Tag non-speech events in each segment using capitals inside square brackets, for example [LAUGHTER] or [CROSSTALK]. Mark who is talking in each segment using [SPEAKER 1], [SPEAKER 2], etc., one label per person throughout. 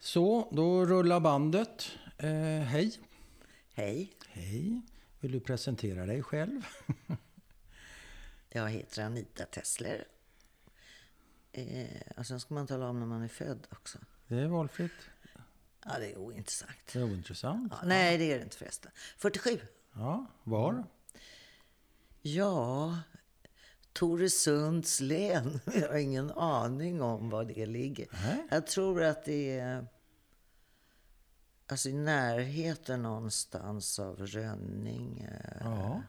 [SPEAKER 1] Så, då rullar bandet. Eh, hej.
[SPEAKER 2] Hej,
[SPEAKER 1] Hej. Vill du presentera dig själv?
[SPEAKER 2] jag heter Anita Tessler. Eh, och sen ska man tala om när man är född också.
[SPEAKER 1] Det är valfritt.
[SPEAKER 2] Ja, det är ointressant.
[SPEAKER 1] Det är ointressant.
[SPEAKER 2] Ja, nej, det är det inte förresten. 47.
[SPEAKER 1] Ja, var?
[SPEAKER 2] Ja, Toresunds län. [LAUGHS] Jag har ingen aning om var det ligger.
[SPEAKER 1] Nej.
[SPEAKER 2] Jag tror att det är alltså i närheten någonstans av Rönninge.
[SPEAKER 1] Ja.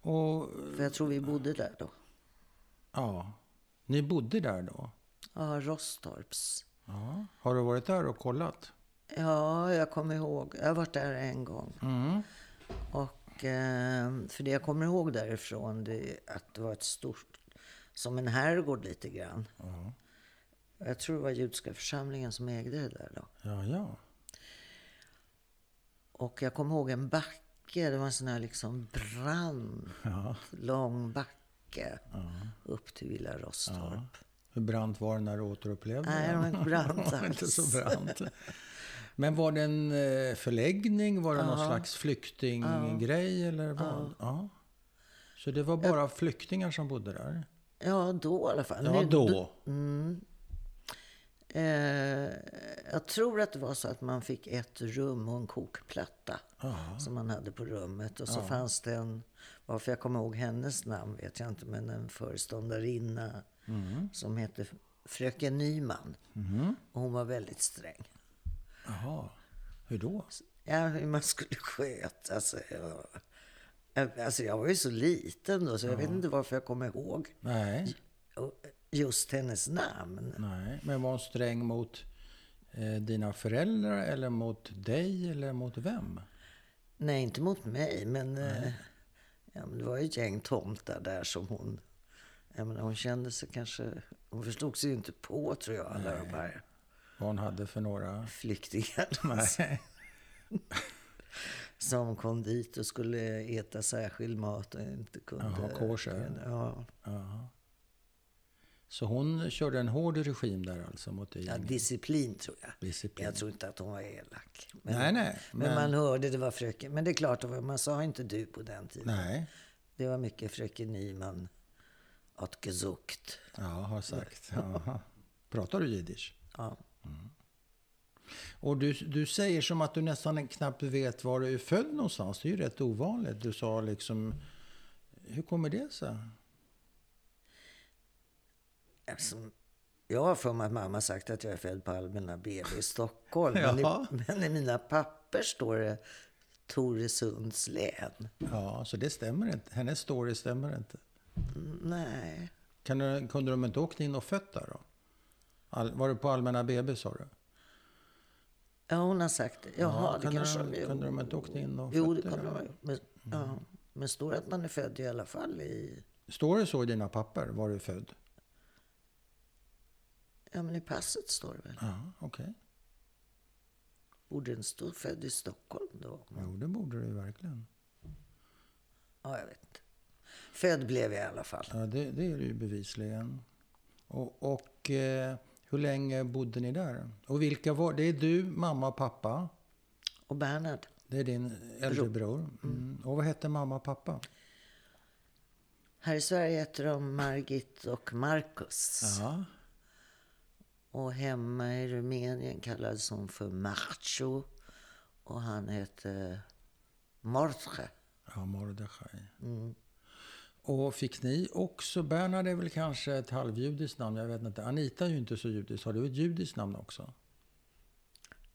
[SPEAKER 1] Och,
[SPEAKER 2] För jag tror vi bodde där då.
[SPEAKER 1] ja. Ni bodde där då?
[SPEAKER 2] Ja, Rostorps.
[SPEAKER 1] Ja. Har du varit där och kollat?
[SPEAKER 2] Ja, jag kommer ihåg. Jag har varit där en gång.
[SPEAKER 1] Mm.
[SPEAKER 2] Och, eh, för det jag kommer ihåg därifrån det är att det var ett stort, som en herrgård lite grann.
[SPEAKER 1] Mm.
[SPEAKER 2] Jag tror det var judiska församlingen som ägde det där då.
[SPEAKER 1] Ja, ja.
[SPEAKER 2] Och jag kommer ihåg en backe, det var en sån här liksom brant, lång backe
[SPEAKER 1] Mm.
[SPEAKER 2] upp till Villa Rostorp.
[SPEAKER 1] Hur brant var den när du återupplevde
[SPEAKER 2] Nej, det
[SPEAKER 1] den?
[SPEAKER 2] var inte
[SPEAKER 1] [LAUGHS]
[SPEAKER 2] brant
[SPEAKER 1] var inte
[SPEAKER 2] alls.
[SPEAKER 1] så brant. [LAUGHS] Men var det en eh, förläggning? Var det någon slags flyktinggrej? Eller vad? Ja. Så det var bara flyktingar som bodde där?
[SPEAKER 2] Ja, då i alla fall.
[SPEAKER 1] Ja,
[SPEAKER 2] Nu-
[SPEAKER 1] då.
[SPEAKER 2] Mm. Eh, jag tror att det var så att man fick ett rum och en kokplatta som man hade på rummet. Och så fanns det en, varför jag kommer ihåg hennes namn vet jag inte, men en föreståndarinna som hette fröken Nyman. Och hon var väldigt sträng.
[SPEAKER 1] Jaha. Hur då?
[SPEAKER 2] Ja, hur man skulle sköta alltså, jag, jag- alltså jag var ju så liten då, så jag vet inte varför jag kommer ihåg
[SPEAKER 1] Nej.
[SPEAKER 2] och- just hennes namn.
[SPEAKER 1] Nej. Men var hon sträng mot eh, dina föräldrar eller mot dig eller mot vem?
[SPEAKER 2] Nej, inte mot mig, men, eh, ja, men det var ju ett gäng tomtar där som hon... Jag menar, hon kände sig kanske... Hon förstod sig ju inte på, tror jag, alla de här
[SPEAKER 1] Vad hon hade för [LAUGHS] några...
[SPEAKER 2] flyktingarna
[SPEAKER 1] Nej.
[SPEAKER 2] [LAUGHS] som kom dit och skulle äta särskild mat och inte kunde...
[SPEAKER 1] Jaha, kosher.
[SPEAKER 2] Ja,
[SPEAKER 1] Så hon körde en hård regim där alltså mot dig?
[SPEAKER 2] ja, disciplin, tror jag.
[SPEAKER 1] Disciplin.
[SPEAKER 2] Jag tror inte att hon var elak. Men,
[SPEAKER 1] Nej, nej.
[SPEAKER 2] men man hörde, det var fröken... Men det är klart, det var- man sa inte du på den tiden.
[SPEAKER 1] Nej.
[SPEAKER 2] Det var mycket fröken Nyman, att gesucht.
[SPEAKER 1] Ja, har [LAUGHS] sagt. Jaha. Pratar du jiddisch?
[SPEAKER 2] Ja.
[SPEAKER 1] Och du, du säger som att du nästan knappt vet var du är född någonstans. Det är ju rätt ovanligt. Du sa liksom... Hur kommer det sig?
[SPEAKER 2] Eftersom Alltså, jag har för mig att mamma sagt att jag är född på Allmänna BB i Stockholm. men, i,
[SPEAKER 1] Jaha.
[SPEAKER 2] men i mina papper står det Toresunds län.
[SPEAKER 1] Ja, så det stämmer inte. Hennes story stämmer inte.
[SPEAKER 2] Mm, Nej.
[SPEAKER 1] Kan du, kunde de inte åkt in och fött där då? All, var du på allmänna BB sa du?
[SPEAKER 2] Ja, hon har sagt det. Jaha, det
[SPEAKER 1] kunde
[SPEAKER 2] kanske
[SPEAKER 1] de,
[SPEAKER 2] jo.
[SPEAKER 1] kunde de inte åkt in och
[SPEAKER 2] Jo,
[SPEAKER 1] fött
[SPEAKER 2] det
[SPEAKER 1] där
[SPEAKER 2] kommer de
[SPEAKER 1] då?
[SPEAKER 2] ha gjort. Men, ja. men står det att man är född i alla fall i,
[SPEAKER 1] Står det så i dina papper, var du är född?
[SPEAKER 2] ja, men i passet står det väl?
[SPEAKER 1] Ja, okej.
[SPEAKER 2] Borde den stå född i Stockholm då?
[SPEAKER 1] Jo, det borde du verkligen.
[SPEAKER 2] Ja, jag vet inte. Född blev jag i alla fall.
[SPEAKER 1] Ja, det, det är det ju bevisligen. Och, och eh, hur länge bodde ni där? Och vilka var det? är du, mamma och pappa.
[SPEAKER 2] Och Bernhard,
[SPEAKER 1] Det är din äldre bror. Mm. Och vad hette mamma och pappa?
[SPEAKER 2] här i Sverige heter de Margit och Marcus.
[SPEAKER 1] Ja.
[SPEAKER 2] Och hemma i Rumänien kallades hon för Macho och han hette Mordre.
[SPEAKER 1] Ja, Mordechai. Och fick ni också, Bernhard är väl kanske ett halvjudiskt namn, jag vet inte. Anita är ju inte så judisk. Har du ett judiskt namn också?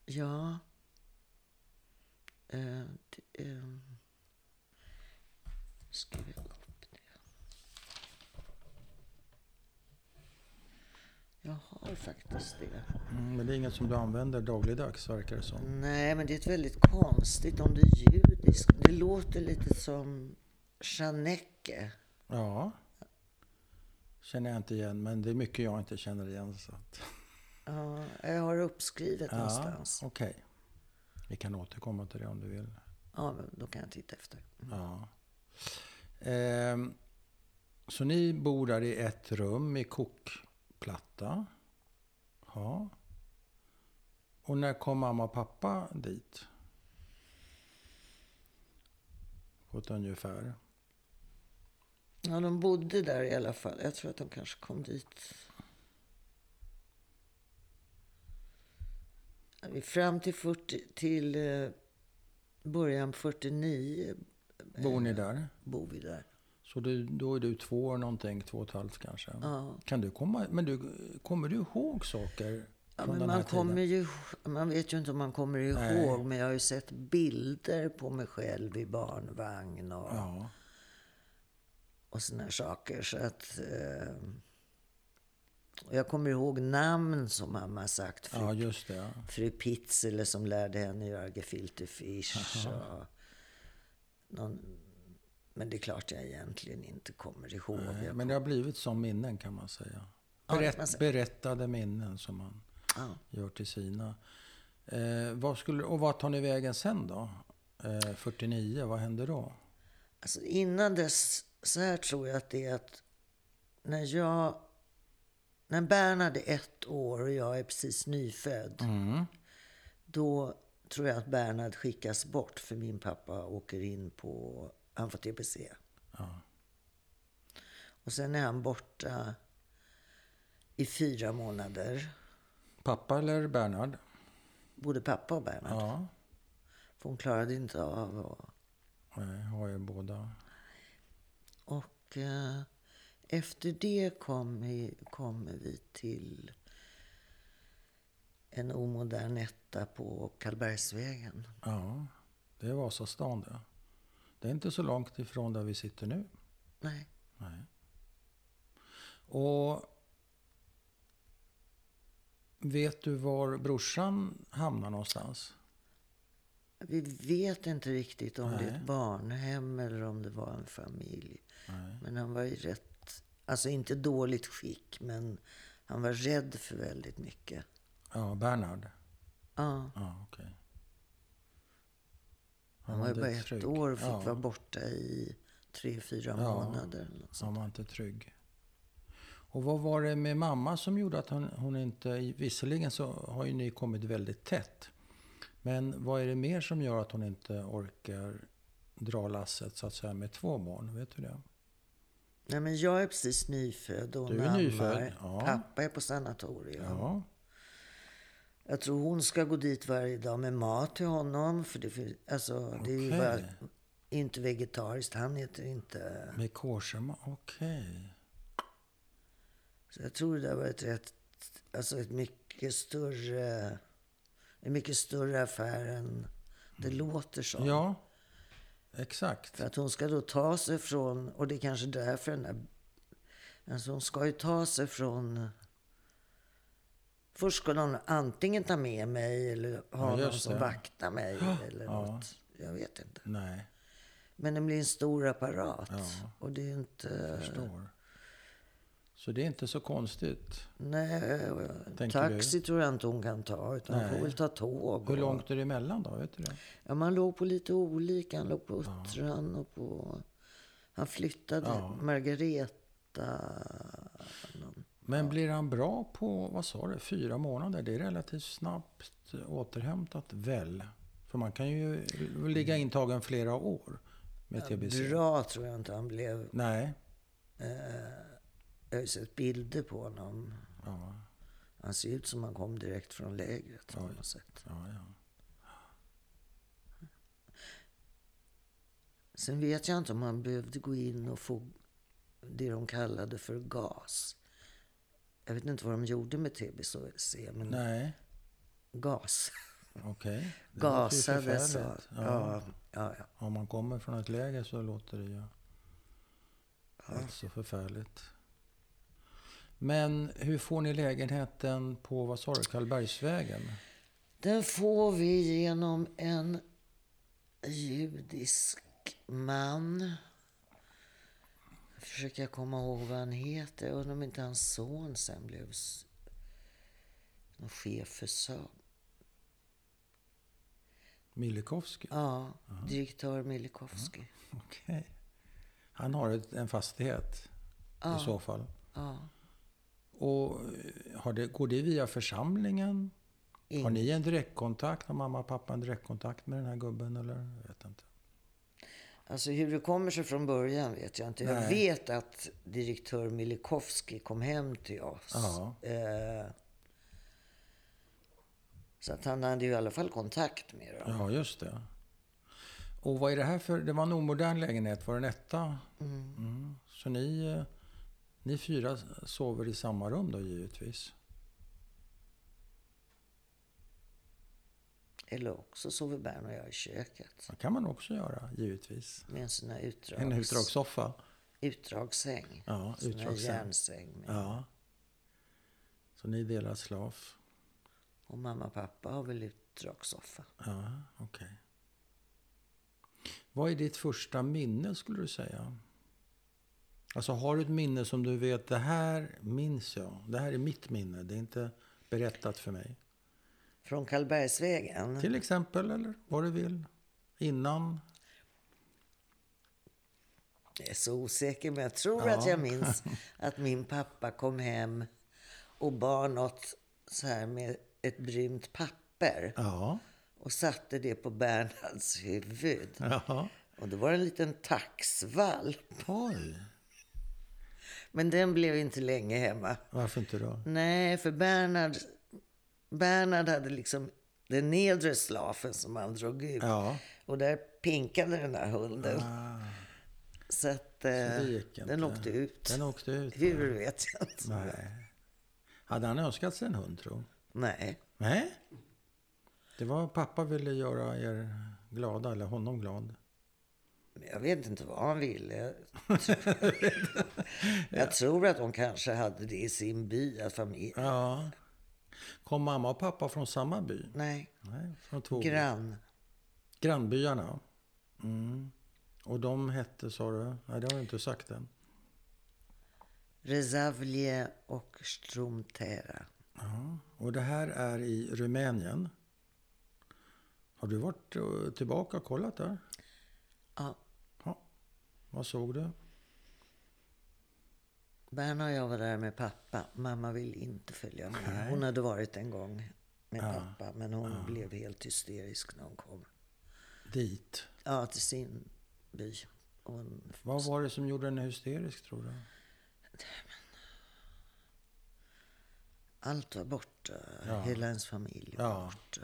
[SPEAKER 2] Ja. Eh, det, eh, ska vi upp det? Jag har faktiskt det.
[SPEAKER 1] Mm, men det är inget som du använder dagligdags, verkar det som.
[SPEAKER 2] Nej, men det är ett väldigt konstigt om det är judiskt. Det låter lite som Janecke.
[SPEAKER 1] Ja. Känner jag inte igen, men det är mycket jag inte känner igen. Så att,
[SPEAKER 2] Ja, jag har det uppskrivet
[SPEAKER 1] ja,
[SPEAKER 2] någonstans.
[SPEAKER 1] okej. Vi kan återkomma till det om du vill.
[SPEAKER 2] Ja, men då kan jag titta efter.
[SPEAKER 1] Ja. Ehm, så ni bor där i ett rum i kokplatta. Ja. Och när kom mamma och pappa dit? På ett ungefär.
[SPEAKER 2] Ja, de bodde där i alla fall. Jag tror att de kanske kom dit... Fram till, 40, till eh, början 49 eh,
[SPEAKER 1] Bor ni där?
[SPEAKER 2] bor vi där.
[SPEAKER 1] Så du, då är du två år någonting, två och ett halvt kanske.
[SPEAKER 2] Ja.
[SPEAKER 1] Kan du komma, men du, kommer du ihåg saker
[SPEAKER 2] Ja,
[SPEAKER 1] från
[SPEAKER 2] men
[SPEAKER 1] den
[SPEAKER 2] man,
[SPEAKER 1] här
[SPEAKER 2] kommer
[SPEAKER 1] tiden?
[SPEAKER 2] ju, man vet ju inte om man kommer ihåg,
[SPEAKER 1] Nej.
[SPEAKER 2] men jag har ju sett bilder på mig själv i barnvagn och,
[SPEAKER 1] Ja.
[SPEAKER 2] och såna här saker. Så att, eh, och jag kommer ihåg namn som mamma sagt. Fru,
[SPEAKER 1] ja, just det. ja.
[SPEAKER 2] fru Pizzele som lärde henne göra gefilte fish. Och någon, men det är klart jag egentligen inte kommer ihåg. Jag
[SPEAKER 1] Men det har blivit som minnen kan man säga.
[SPEAKER 2] Ja, det
[SPEAKER 1] Berätt,
[SPEAKER 2] kan man säga.
[SPEAKER 1] Berättade minnen som man
[SPEAKER 2] Ja.
[SPEAKER 1] gör till sina. Eh, vad skulle, och vad tar ni vägen sen då? Eh, 49, vad hände då?
[SPEAKER 2] Alltså innan dess, så här tror jag att det är att när jag... När Bernhard är ett år och jag är precis nyfödd, då tror jag att Bernhard skickas bort för min pappa åker in på... Han får tbc. Och sen är han borta i fyra månader.
[SPEAKER 1] Pappa eller Bernhard?
[SPEAKER 2] Både pappa och Bernhard.
[SPEAKER 1] Ja,
[SPEAKER 2] För hon klarade inte av att
[SPEAKER 1] eh, har ju båda.
[SPEAKER 2] Och eh, efter det kom vi, kommer vi till en omodern etta på Karlbergsvägen.
[SPEAKER 1] Ja, det är Vasastan det. Det är inte så långt ifrån där vi sitter nu.
[SPEAKER 2] Nej.
[SPEAKER 1] Nej. Och vet du var brorsan hamnar någonstans?
[SPEAKER 2] Vi vet inte riktigt om det är
[SPEAKER 1] Nej.
[SPEAKER 2] ett barnhem eller om det var en familj.
[SPEAKER 1] Nej.
[SPEAKER 2] Men han var i rätt, alltså inte dåligt skick, men han var rädd för väldigt mycket.
[SPEAKER 1] Ja, Bernhard.
[SPEAKER 2] Ja,
[SPEAKER 1] Ja, okej.
[SPEAKER 2] han var ju
[SPEAKER 1] inte
[SPEAKER 2] bara ett
[SPEAKER 1] trygg.
[SPEAKER 2] år och fick
[SPEAKER 1] ja,
[SPEAKER 2] vara borta i tre, fyra
[SPEAKER 1] Ja.
[SPEAKER 2] månader. Eller något sånt.
[SPEAKER 1] Han var inte trygg. Och vad var det med mamma som gjorde att hon, hon inte... Visserligen så har ju ni kommit väldigt tätt. Men vad är det mer som gör att hon inte orkar dra lasset så att säga med två barn? Vet du det?
[SPEAKER 2] Nej, men jag är precis nyfödd och
[SPEAKER 1] Du är
[SPEAKER 2] hon ammar.
[SPEAKER 1] nyfödd, ja.
[SPEAKER 2] Pappa är på sanatorium.
[SPEAKER 1] Ja.
[SPEAKER 2] Jag tror hon ska gå dit varje dag med mat till honom. För det, fin- alltså, det är ju
[SPEAKER 1] Okej.
[SPEAKER 2] bara, inte vegetariskt. Han äter inte...
[SPEAKER 1] Med korsamma, okej.
[SPEAKER 2] Så jag tror det där var ett rätt... Alltså ett mycket större... En mycket större affär än det låter som.
[SPEAKER 1] Mm. Ja, exakt.
[SPEAKER 2] För att hon ska då ta sig från... Och det är kanske därför den där... Alltså hon ska ju ta sig från... Först ska någon antingen ta med mig eller ha
[SPEAKER 1] Ja,
[SPEAKER 2] någon
[SPEAKER 1] just
[SPEAKER 2] som
[SPEAKER 1] det.
[SPEAKER 2] vaktar mig
[SPEAKER 1] [GASPS]
[SPEAKER 2] eller
[SPEAKER 1] Ja.
[SPEAKER 2] något. Jag vet inte.
[SPEAKER 1] Nej,
[SPEAKER 2] Men det blir en stor apparat.
[SPEAKER 1] Ja.
[SPEAKER 2] Och det är ju inte...
[SPEAKER 1] förstår. Så det är inte så konstigt.
[SPEAKER 2] Nej,
[SPEAKER 1] Tänker
[SPEAKER 2] taxi tror jag inte hon kan ta. Utan hon
[SPEAKER 1] Nej.
[SPEAKER 2] får väl ta tåg.
[SPEAKER 1] Hur
[SPEAKER 2] och-
[SPEAKER 1] långt är det emellan då? Vet du det?
[SPEAKER 2] Ja, man låg på lite olika. Han låg på Uttran och på... Han flyttade.
[SPEAKER 1] Ja.
[SPEAKER 2] Margareta... Någon.
[SPEAKER 1] Men blir han bra på, vad sa du, fyra månader? Det är relativt snabbt återhämtat väl? För man kan ju ligga intagen flera år med TBC.
[SPEAKER 2] Bra tror jag inte han blev.
[SPEAKER 1] Nej,
[SPEAKER 2] Jag har ju sett bilder på honom.
[SPEAKER 1] ja,
[SPEAKER 2] Han ser ut som han kom direkt från lägret. På
[SPEAKER 1] Oj.
[SPEAKER 2] något sätt.
[SPEAKER 1] ja, ja.
[SPEAKER 2] Sen vet jag inte om han behövde gå in och få det de kallade för gas. Jag vet inte vad de gjorde med TBC, men
[SPEAKER 1] Nej,
[SPEAKER 2] gas.
[SPEAKER 1] okej. Det låter ju
[SPEAKER 2] Gasade så. Ja,
[SPEAKER 1] förfärligt.
[SPEAKER 2] ja, ja.
[SPEAKER 1] Om man kommer från ett läger så låter det ju rätt så förfärligt. Men hur får ni lägenheten på, vad sa du, Karlbergsvägen?
[SPEAKER 2] Den får vi genom en judisk man. Försöker jag komma ihåg vad han heter. Jag undrar om inte hans son sen blev s- någon chef för Saab.
[SPEAKER 1] Milikovsky?
[SPEAKER 2] Ja, direktör Milikovsky.
[SPEAKER 1] Okej. Han har ett, en fastighet i så fall.
[SPEAKER 2] Ja.
[SPEAKER 1] Och eh, har det, går det via församlingen? Har ni en direktkontakt? Har mamma och pappa en direktkontakt med den här gubben? Eller? Jag vet inte.
[SPEAKER 2] Alltså hur det kommer sig från början vet jag inte. Jag
[SPEAKER 1] Nej.
[SPEAKER 2] vet att direktör Milikowski kom hem till oss.
[SPEAKER 1] Ja.
[SPEAKER 2] Eh, så att han hade ju i alla fall kontakt med dem.
[SPEAKER 1] Ja, just det. Och vad är det här för... Det var en omodern lägenhet. Var det en etta? Mm. Så ni, eh, ni fyra sover i samma rum då givetvis?
[SPEAKER 2] Eller också sover Bern och jag i köket.
[SPEAKER 1] Det kan man också göra, givetvis.
[SPEAKER 2] Med en sån här utdrags,
[SPEAKER 1] En utdragssoffa.
[SPEAKER 2] utdragssäng.
[SPEAKER 1] Ja,
[SPEAKER 2] Sån här
[SPEAKER 1] utdragssäng.
[SPEAKER 2] järnsäng. Med.
[SPEAKER 1] Ja. Så ni delar slav.
[SPEAKER 2] Och mamma och pappa har väl utdragssoffa.
[SPEAKER 1] Ja, okej. Vad är ditt första minne skulle du säga? Alltså har du ett minne som du vet, det här minns jag. Det här är mitt minne, det är inte berättat för mig.
[SPEAKER 2] Från Karlbergsvägen.
[SPEAKER 1] Till exempel, eller vad du vill. Innan.
[SPEAKER 2] Jag är så osäker, men jag tror att
[SPEAKER 1] [LAUGHS]
[SPEAKER 2] jag minns att min pappa kom hem och bar något så här med ett brunt papper
[SPEAKER 1] Ja.
[SPEAKER 2] och satte det på Bernhards huvud.
[SPEAKER 1] ja.
[SPEAKER 2] Och det var en liten taxvalp.
[SPEAKER 1] Oj.
[SPEAKER 2] Men den blev inte länge hemma.
[SPEAKER 1] Varför inte då?
[SPEAKER 2] Nej, för Bernhard, Bernhard hade liksom den nedre slafen som han drog ut.
[SPEAKER 1] Ja. Ah.
[SPEAKER 2] Och där pinkade den där hunden. Så att eh,
[SPEAKER 1] det gick inte.
[SPEAKER 2] den åkte ut.
[SPEAKER 1] Den åkte ut.
[SPEAKER 2] Hur vet jag inte.
[SPEAKER 1] Nej. Hade han önskat sig en hund, tror du?
[SPEAKER 2] Nej.
[SPEAKER 1] Nej. Det var pappa ville göra er glada, eller honom glad.
[SPEAKER 2] Men Jag vet inte vad
[SPEAKER 1] [LAUGHS]
[SPEAKER 2] han ville. jag tror att de kanske hade det i sin by, att familj...
[SPEAKER 1] Ja. Kom mamma och pappa från samma by?
[SPEAKER 2] Nej,
[SPEAKER 1] Nej, från två byar.
[SPEAKER 2] grann.
[SPEAKER 1] Grannbyarna. Mm. Och de hette, sa du? Nej, det har du inte sagt än.
[SPEAKER 2] Rezavlie och Stromtera.
[SPEAKER 1] Ja. Och det här är i Rumänien. Har du varit eh, tillbaka och kollat där?
[SPEAKER 2] Ja,
[SPEAKER 1] Ja. Vad såg du?
[SPEAKER 2] Berna och jag var där med pappa. Mamma ville inte följa med. Hon hade varit en gång med pappa, men hon blev helt hysterisk när hon kom.
[SPEAKER 1] Dit.
[SPEAKER 2] Ja, till sin by. Och hon
[SPEAKER 1] Vad var det som gjorde henne hysterisk, tror du?
[SPEAKER 2] Allt var borta. Hela ens familj var
[SPEAKER 1] Ja.
[SPEAKER 2] borta.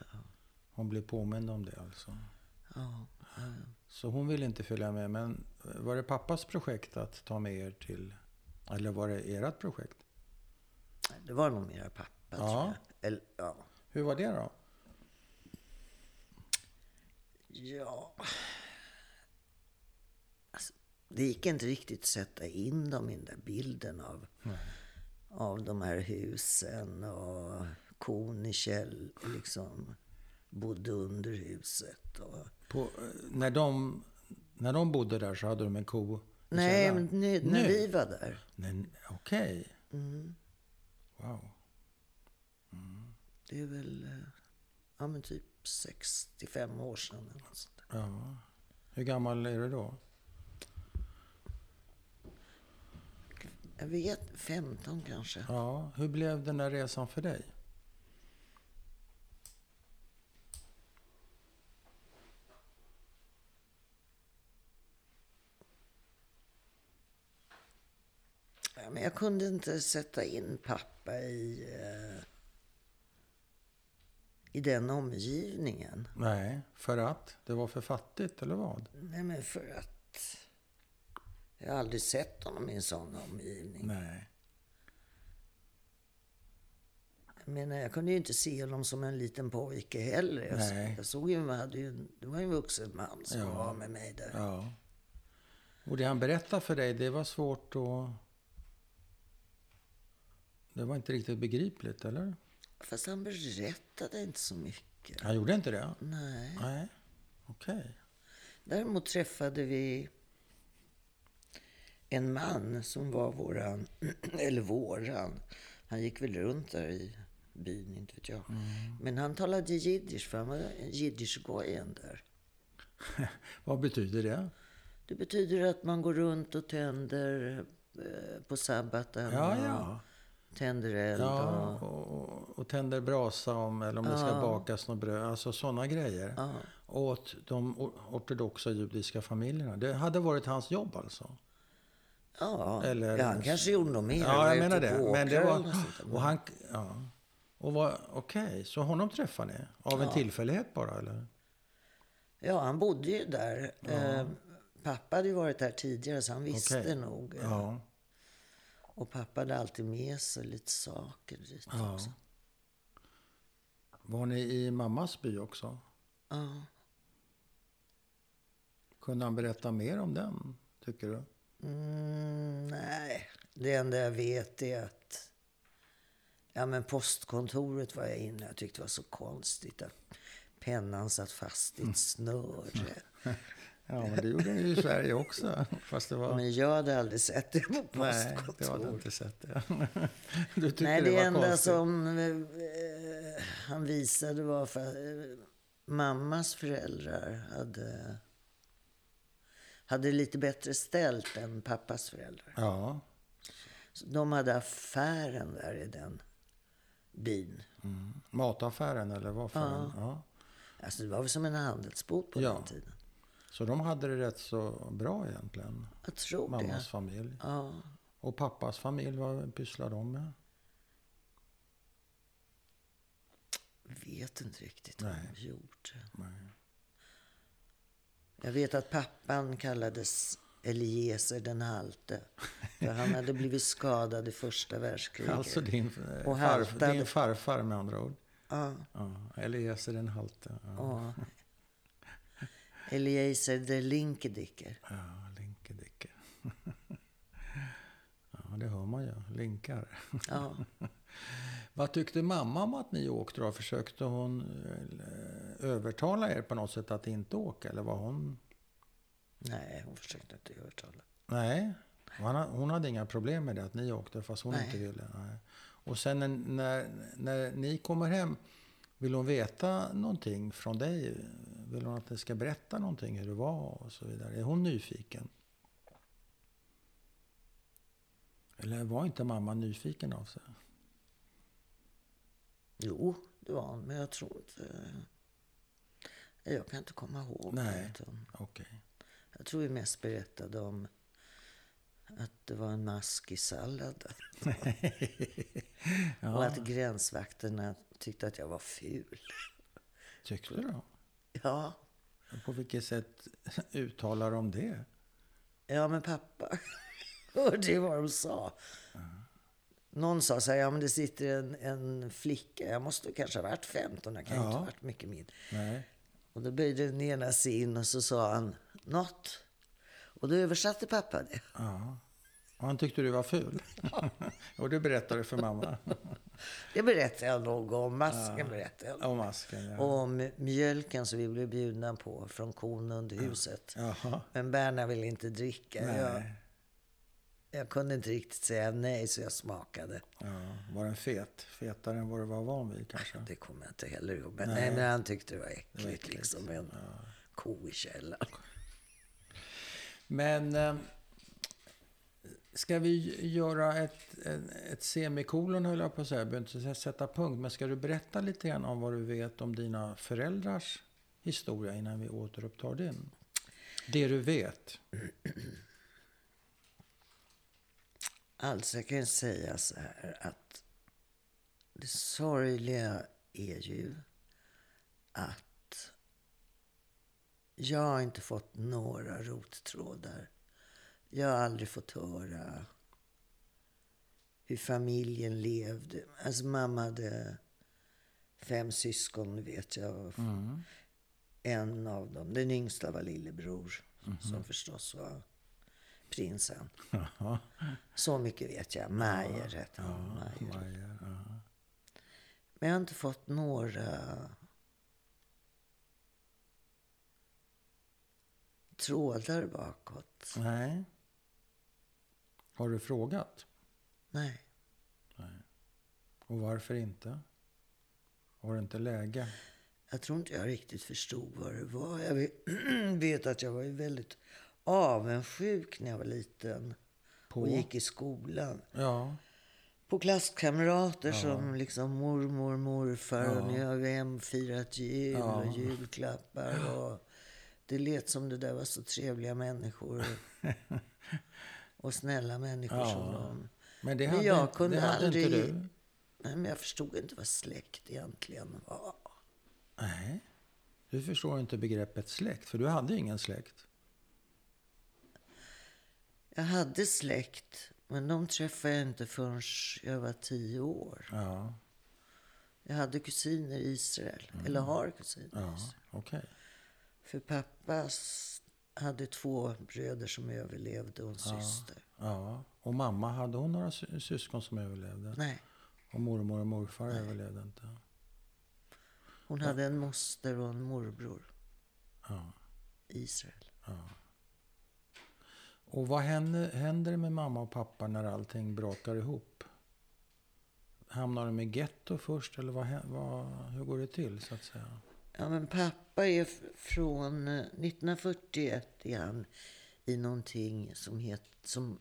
[SPEAKER 1] Hon blev påmind om det alltså.
[SPEAKER 2] Ja.
[SPEAKER 1] Så hon ville inte följa med. Men eh, var det pappas projekt att ta med er till... Eller var det ert projekt?
[SPEAKER 2] Det var nog mera pappa, tror
[SPEAKER 1] Ja.
[SPEAKER 2] jag. Eller, ja.
[SPEAKER 1] Hur var det då?
[SPEAKER 2] ja. Alltså, det gick inte riktigt att sätta in dem i den där bilden av, av de här husen och kon i käll, liksom bodde under huset. Och,
[SPEAKER 1] På, eh, när, de, när de bodde där så hade de en ko i
[SPEAKER 2] nej, men
[SPEAKER 1] källaren.
[SPEAKER 2] nu, när
[SPEAKER 1] Nu?
[SPEAKER 2] vi var där.
[SPEAKER 1] Men Okej. Wow.
[SPEAKER 2] Det är väl eh, ja, men typ 65 år sedan. Eller något sånt där.
[SPEAKER 1] Ja. Hur gammal är du då?
[SPEAKER 2] Jag vet, 15 kanske.
[SPEAKER 1] Ja. Hur blev den där resan för dig?
[SPEAKER 2] Ja, men jag kunde inte sätta in pappa i, eh, i den omgivningen.
[SPEAKER 1] Nej, för att det var för fattigt eller vad?
[SPEAKER 2] Nej, men för att jag har aldrig sett honom i en sån omgivning.
[SPEAKER 1] Nej.
[SPEAKER 2] Jag, menar, jag kunde ju inte se honom som en liten pojke heller. Jag,
[SPEAKER 1] Nej.
[SPEAKER 2] jag såg ju, jag hade ju, en- det var ju en vuxen man som var med mig där.
[SPEAKER 1] Ja. Och det han berättade för dig, det var svårt att... Det var inte riktigt begripligt, eller?
[SPEAKER 2] Fast han berättade inte så mycket.
[SPEAKER 1] Han gjorde inte det?
[SPEAKER 2] Nej.
[SPEAKER 1] Nej. Okej. [LAUGHS]
[SPEAKER 2] Däremot träffade vi en man som var våran, [CLEARS THROAT] eller våran. Han gick väl runt där i byn, inte vet jag.
[SPEAKER 1] Mm.
[SPEAKER 2] Men han talade jiddisch, för han var jiddischgojen där.
[SPEAKER 1] Vad betyder det?
[SPEAKER 2] Det betyder att man går runt och tänder eh, på sabbaten
[SPEAKER 1] Ja,
[SPEAKER 2] och
[SPEAKER 1] ja.
[SPEAKER 2] tänder eld
[SPEAKER 1] Ja,
[SPEAKER 2] och...
[SPEAKER 1] och, och tänder brasa om, eller om det ska
[SPEAKER 2] Ja.
[SPEAKER 1] bakas något bröd. Alltså sådana grejer.
[SPEAKER 2] Ja.
[SPEAKER 1] Åt de o- ortodoxa judiska familjerna. Det hade varit hans jobb alltså.
[SPEAKER 2] Ja,
[SPEAKER 1] Eller-
[SPEAKER 2] ja, han kanske gjorde något mer. Han
[SPEAKER 1] Ja,
[SPEAKER 2] var
[SPEAKER 1] jag menar
[SPEAKER 2] ute
[SPEAKER 1] det.
[SPEAKER 2] på
[SPEAKER 1] Men det
[SPEAKER 2] åkrar
[SPEAKER 1] var,
[SPEAKER 2] eller något sånt där.
[SPEAKER 1] och han, ja. Och var, okej, så honom träffade ni? Av en tillfällighet bara eller?
[SPEAKER 2] Ja, han bodde ju där. Eh, pappa hade ju varit där tidigare så han visste
[SPEAKER 1] Okej.
[SPEAKER 2] nog. eh,
[SPEAKER 1] Ja.
[SPEAKER 2] Och pappa hade alltid med sig lite saker dit
[SPEAKER 1] ja.
[SPEAKER 2] också.
[SPEAKER 1] Var ni i mammas by också?
[SPEAKER 2] Ja.
[SPEAKER 1] Kunde han berätta mer om den, tycker du?
[SPEAKER 2] Mm, nej, det enda jag vet är att ja, men postkontoret var jag inne Jag tyckte det var så konstigt att pennan satt fast i
[SPEAKER 1] Mm.
[SPEAKER 2] ett snöre.
[SPEAKER 1] Ja, men det gjorde ni ju i Sverige också. [LAUGHS] Fast det var...
[SPEAKER 2] Men jag hade aldrig sett det på
[SPEAKER 1] Nej, det
[SPEAKER 2] postkontoret.
[SPEAKER 1] har du inte sett. Det. [LAUGHS] Du tyckte
[SPEAKER 2] Nej, det,
[SPEAKER 1] var
[SPEAKER 2] enda
[SPEAKER 1] konstigt.
[SPEAKER 2] som eh, han visade var för eh, mammas föräldrar hade, hade lite bättre ställt än pappas föräldrar.
[SPEAKER 1] Ja,
[SPEAKER 2] Så de hade affären där i den byn.
[SPEAKER 1] mm. mataffären eller vad för en. Ja.
[SPEAKER 2] Alltså det var väl som en handelsbod på
[SPEAKER 1] Ja.
[SPEAKER 2] den tiden.
[SPEAKER 1] Så de hade det rätt så bra egentligen,
[SPEAKER 2] Jag tror det.
[SPEAKER 1] mammas familj.
[SPEAKER 2] Ja.
[SPEAKER 1] Och pappas familj, vad pysslar de med?
[SPEAKER 2] vet inte riktigt vad
[SPEAKER 1] Nej.
[SPEAKER 2] de gjorde.
[SPEAKER 1] Nej.
[SPEAKER 2] Jag vet att pappan kallades Eliezer den halte. För han hade blivit skadad i första världskriget.
[SPEAKER 1] Alltså din, eh,
[SPEAKER 2] Och
[SPEAKER 1] farf,
[SPEAKER 2] haltade.
[SPEAKER 1] din farfar med andra ord.
[SPEAKER 2] ja.
[SPEAKER 1] Ja. Eliezer den halte. Ja,
[SPEAKER 2] Ja. Eliezer de Linkedicker.
[SPEAKER 1] ja Linkedicke. [LAUGHS] Ja, det hör man ju. Linkar. [LAUGHS]
[SPEAKER 2] Ja.
[SPEAKER 1] Vad tyckte mamma om att ni åkte då? Försökte hon eh, övertala er på något sätt att inte åka? Eller var hon...
[SPEAKER 2] Nej, hon försökte inte övertala.
[SPEAKER 1] Nej, hon ha- hon hade inga problem med det att ni åkte fast hon
[SPEAKER 2] Nej.
[SPEAKER 1] inte ville. Nej. Och sen när, när, när ni kommer hem, vill hon veta någonting från dig? Vill hon att ni ska berätta någonting hur det var och så vidare? Är hon nyfiken? Eller var inte mamma nyfiken av sig?
[SPEAKER 2] Jo, det var hon, men jag tror inte... Jag kan inte komma ihåg.
[SPEAKER 1] Nej.
[SPEAKER 2] att hon-
[SPEAKER 1] Okej.
[SPEAKER 2] Jag tror vi mest berättade om att det var en mask
[SPEAKER 1] [LAUGHS]
[SPEAKER 2] i salladen. Och att gränsvakterna tyckte att jag var ful.
[SPEAKER 1] Tyckte du då?
[SPEAKER 2] Ja,
[SPEAKER 1] På vilket sätt [LAUGHS] uttalar de det?
[SPEAKER 2] ja men pappa [LAUGHS] hörde ju vad de sa. Någon sa så här, ja men det sitter en, en flicka, jag måste kanske ha varit 15, jag kan ju inte
[SPEAKER 1] Ja.
[SPEAKER 2] ha varit mycket mindre.
[SPEAKER 1] Nej.
[SPEAKER 2] Och då böjde den ena sig in och så sa han något. Och då översatte pappa det.
[SPEAKER 1] Ja. Och han tyckte du var ful. [LAUGHS] och du berättade för mamma.
[SPEAKER 2] Det berättade jag nog om, masken berättade jag nog.
[SPEAKER 1] Om masken, ja.
[SPEAKER 2] Och om mjölken som vi blev bjudna på från kon under huset.
[SPEAKER 1] Jaha.
[SPEAKER 2] Men Berna ville inte dricka. Jag,
[SPEAKER 1] Nej.
[SPEAKER 2] jag kunde inte riktigt säga nej så jag smakade.
[SPEAKER 1] Ja. Var den fet? Fetare än vad du var van vid kanske?
[SPEAKER 2] Det kommer jag inte heller ihåg. Men, nej. men han tyckte det var äckligt, liksom. En ko i källaren.
[SPEAKER 1] Men eh, ska vi göra ett, ett, ett semikolon höll jag på att säga. Jag behöver inte sätta punkt. Men ska du berätta lite grann om vad du vet om dina föräldrars historia innan vi återupptar din? Det du vet.
[SPEAKER 2] Alltså jag kan ju säga så här att det sorgliga är ju att jag har inte fått några rottrådar. Jag har aldrig fått höra hur familjen levde. Alltså mamma hade fem syskon vet jag. En av dem, den yngsta var lillebror som förstås var prinsen.
[SPEAKER 1] Jaha.
[SPEAKER 2] Så mycket vet jag. Majer hette hon. Majer.
[SPEAKER 1] Maja, ja.
[SPEAKER 2] Men jag har inte fått några trådar bakåt.
[SPEAKER 1] Nej. Har du frågat?
[SPEAKER 2] Nej.
[SPEAKER 1] Och varför inte? Var det inte läge?
[SPEAKER 2] Jag tror inte jag riktigt förstod vad det var. Jag vet- [CLEARS THROAT] vet att jag var ju väldigt avundsjuk när jag var liten
[SPEAKER 1] På?
[SPEAKER 2] och gick i skolan.
[SPEAKER 1] Ja.
[SPEAKER 2] på klasskamrater som liksom mormor, morfar och nu har vi hemfirat jul och julklappar. Och det lät som det där var så
[SPEAKER 1] [LAUGHS]
[SPEAKER 2] trevliga människor. och snälla människor
[SPEAKER 1] Ja.
[SPEAKER 2] som de.
[SPEAKER 1] Men det
[SPEAKER 2] Men
[SPEAKER 1] hade,
[SPEAKER 2] jag kunde
[SPEAKER 1] det hade
[SPEAKER 2] aldrig...
[SPEAKER 1] inte du?
[SPEAKER 2] Nej, men jag förstod inte vad släkt egentligen var.
[SPEAKER 1] Nej. Du förstår inte begreppet släkt, för du hade ingen släkt.
[SPEAKER 2] Jag hade släkt, men de träffade jag inte förrän jag var tio år.
[SPEAKER 1] Ja,
[SPEAKER 2] Jag hade kusiner i Israel, eller har kusiner i
[SPEAKER 1] Mm. ja
[SPEAKER 2] Israel.
[SPEAKER 1] okej.
[SPEAKER 2] För pappa s- hade två bröder som överlevde och en syster.
[SPEAKER 1] Ja. Och mamma, hade hon några sy- syskon som överlevde?
[SPEAKER 2] Nej,
[SPEAKER 1] Och mormor och morfar överlevde inte?
[SPEAKER 2] hon hade en moster och en morbror
[SPEAKER 1] Ja.
[SPEAKER 2] i Israel.
[SPEAKER 1] Och vad händer, händer med mamma och pappa när allting brakar ihop? Hamnar de i getto först, eller vad, hä- vad, hur går det till? så att säga?
[SPEAKER 2] Ja, men pappa är f- från eh, 1941 är han i någonting som, het, som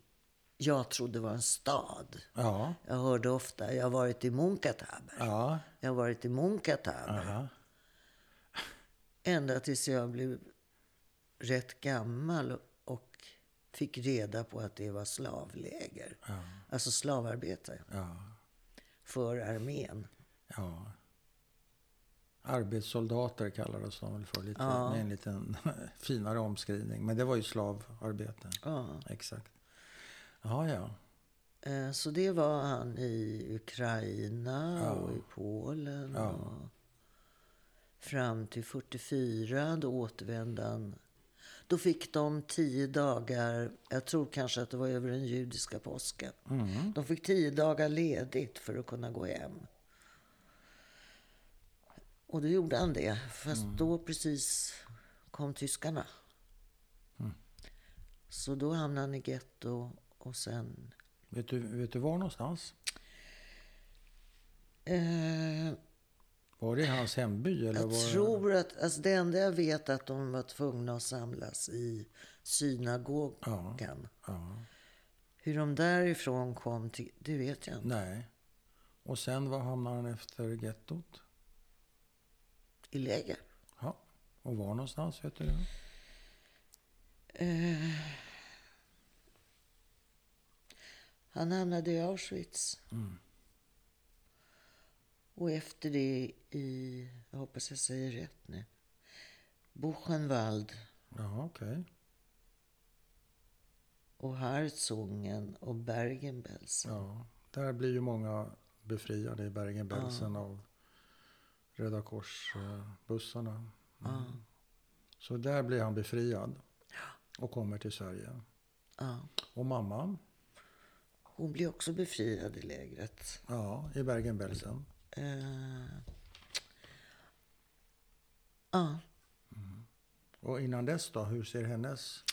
[SPEAKER 2] jag trodde var en stad.
[SPEAKER 1] Ja.
[SPEAKER 2] Jag hörde ofta, jag har varit i Munkataber.
[SPEAKER 1] Ja.
[SPEAKER 2] Jag har varit i Munkataber.
[SPEAKER 1] Aha.
[SPEAKER 2] Ända tills jag blev rätt gammal och fick reda på att det var slavläger. Alltså slavarbete
[SPEAKER 1] Ja.
[SPEAKER 2] för armén.
[SPEAKER 1] Ja. Arbetssoldater kallades de väl för, lite, med en liten [LAUGHS] finare omskrivning. Men det var ju slavarbete.
[SPEAKER 2] Ja.
[SPEAKER 1] Exakt. Ja, ja.
[SPEAKER 2] Eh, Så det var han i Ukraina och i Polen. Och fram till 44, då återvände han. Då fick de tio dagar, jag tror kanske att det var över den judiska påsken. De fick tio dagar ledigt för att kunna gå hem. Och då gjorde han det, fast då precis kom tyskarna. Så då hamnade han i getto och sen
[SPEAKER 1] Vet du, vet du var någonstans?
[SPEAKER 2] Eh,
[SPEAKER 1] Var det i hans hemby? Eller
[SPEAKER 2] jag
[SPEAKER 1] var
[SPEAKER 2] tror att, alltså det enda jag vet är att de var tvungna att samlas i synagogan.
[SPEAKER 1] Ja.
[SPEAKER 2] Hur de därifrån kom till, det vet jag inte.
[SPEAKER 1] Nej. Och sen, var hamnade han efter gettot?
[SPEAKER 2] I läger.
[SPEAKER 1] Ja. Och var någonstans, vet du det?
[SPEAKER 2] Han hamnade i Auschwitz.
[SPEAKER 1] Mm.
[SPEAKER 2] Och efter det i, jag hoppas jag säger rätt nu, Buchenwald
[SPEAKER 1] Ja, okej.
[SPEAKER 2] och Harzogen och Bergen-Belsen.
[SPEAKER 1] Ja. Där blir ju många befriade i Bergen-Belsen av Röda Kors-bussarna. Mm. Så där blir han befriad och kommer till Sverige.
[SPEAKER 2] Ja.
[SPEAKER 1] Och mamma,
[SPEAKER 2] Hon blev också befriad i lägret.
[SPEAKER 1] ja, i Bergen-Belsen.
[SPEAKER 2] Eh, ja,
[SPEAKER 1] Och innan dess då, hur ser hennes...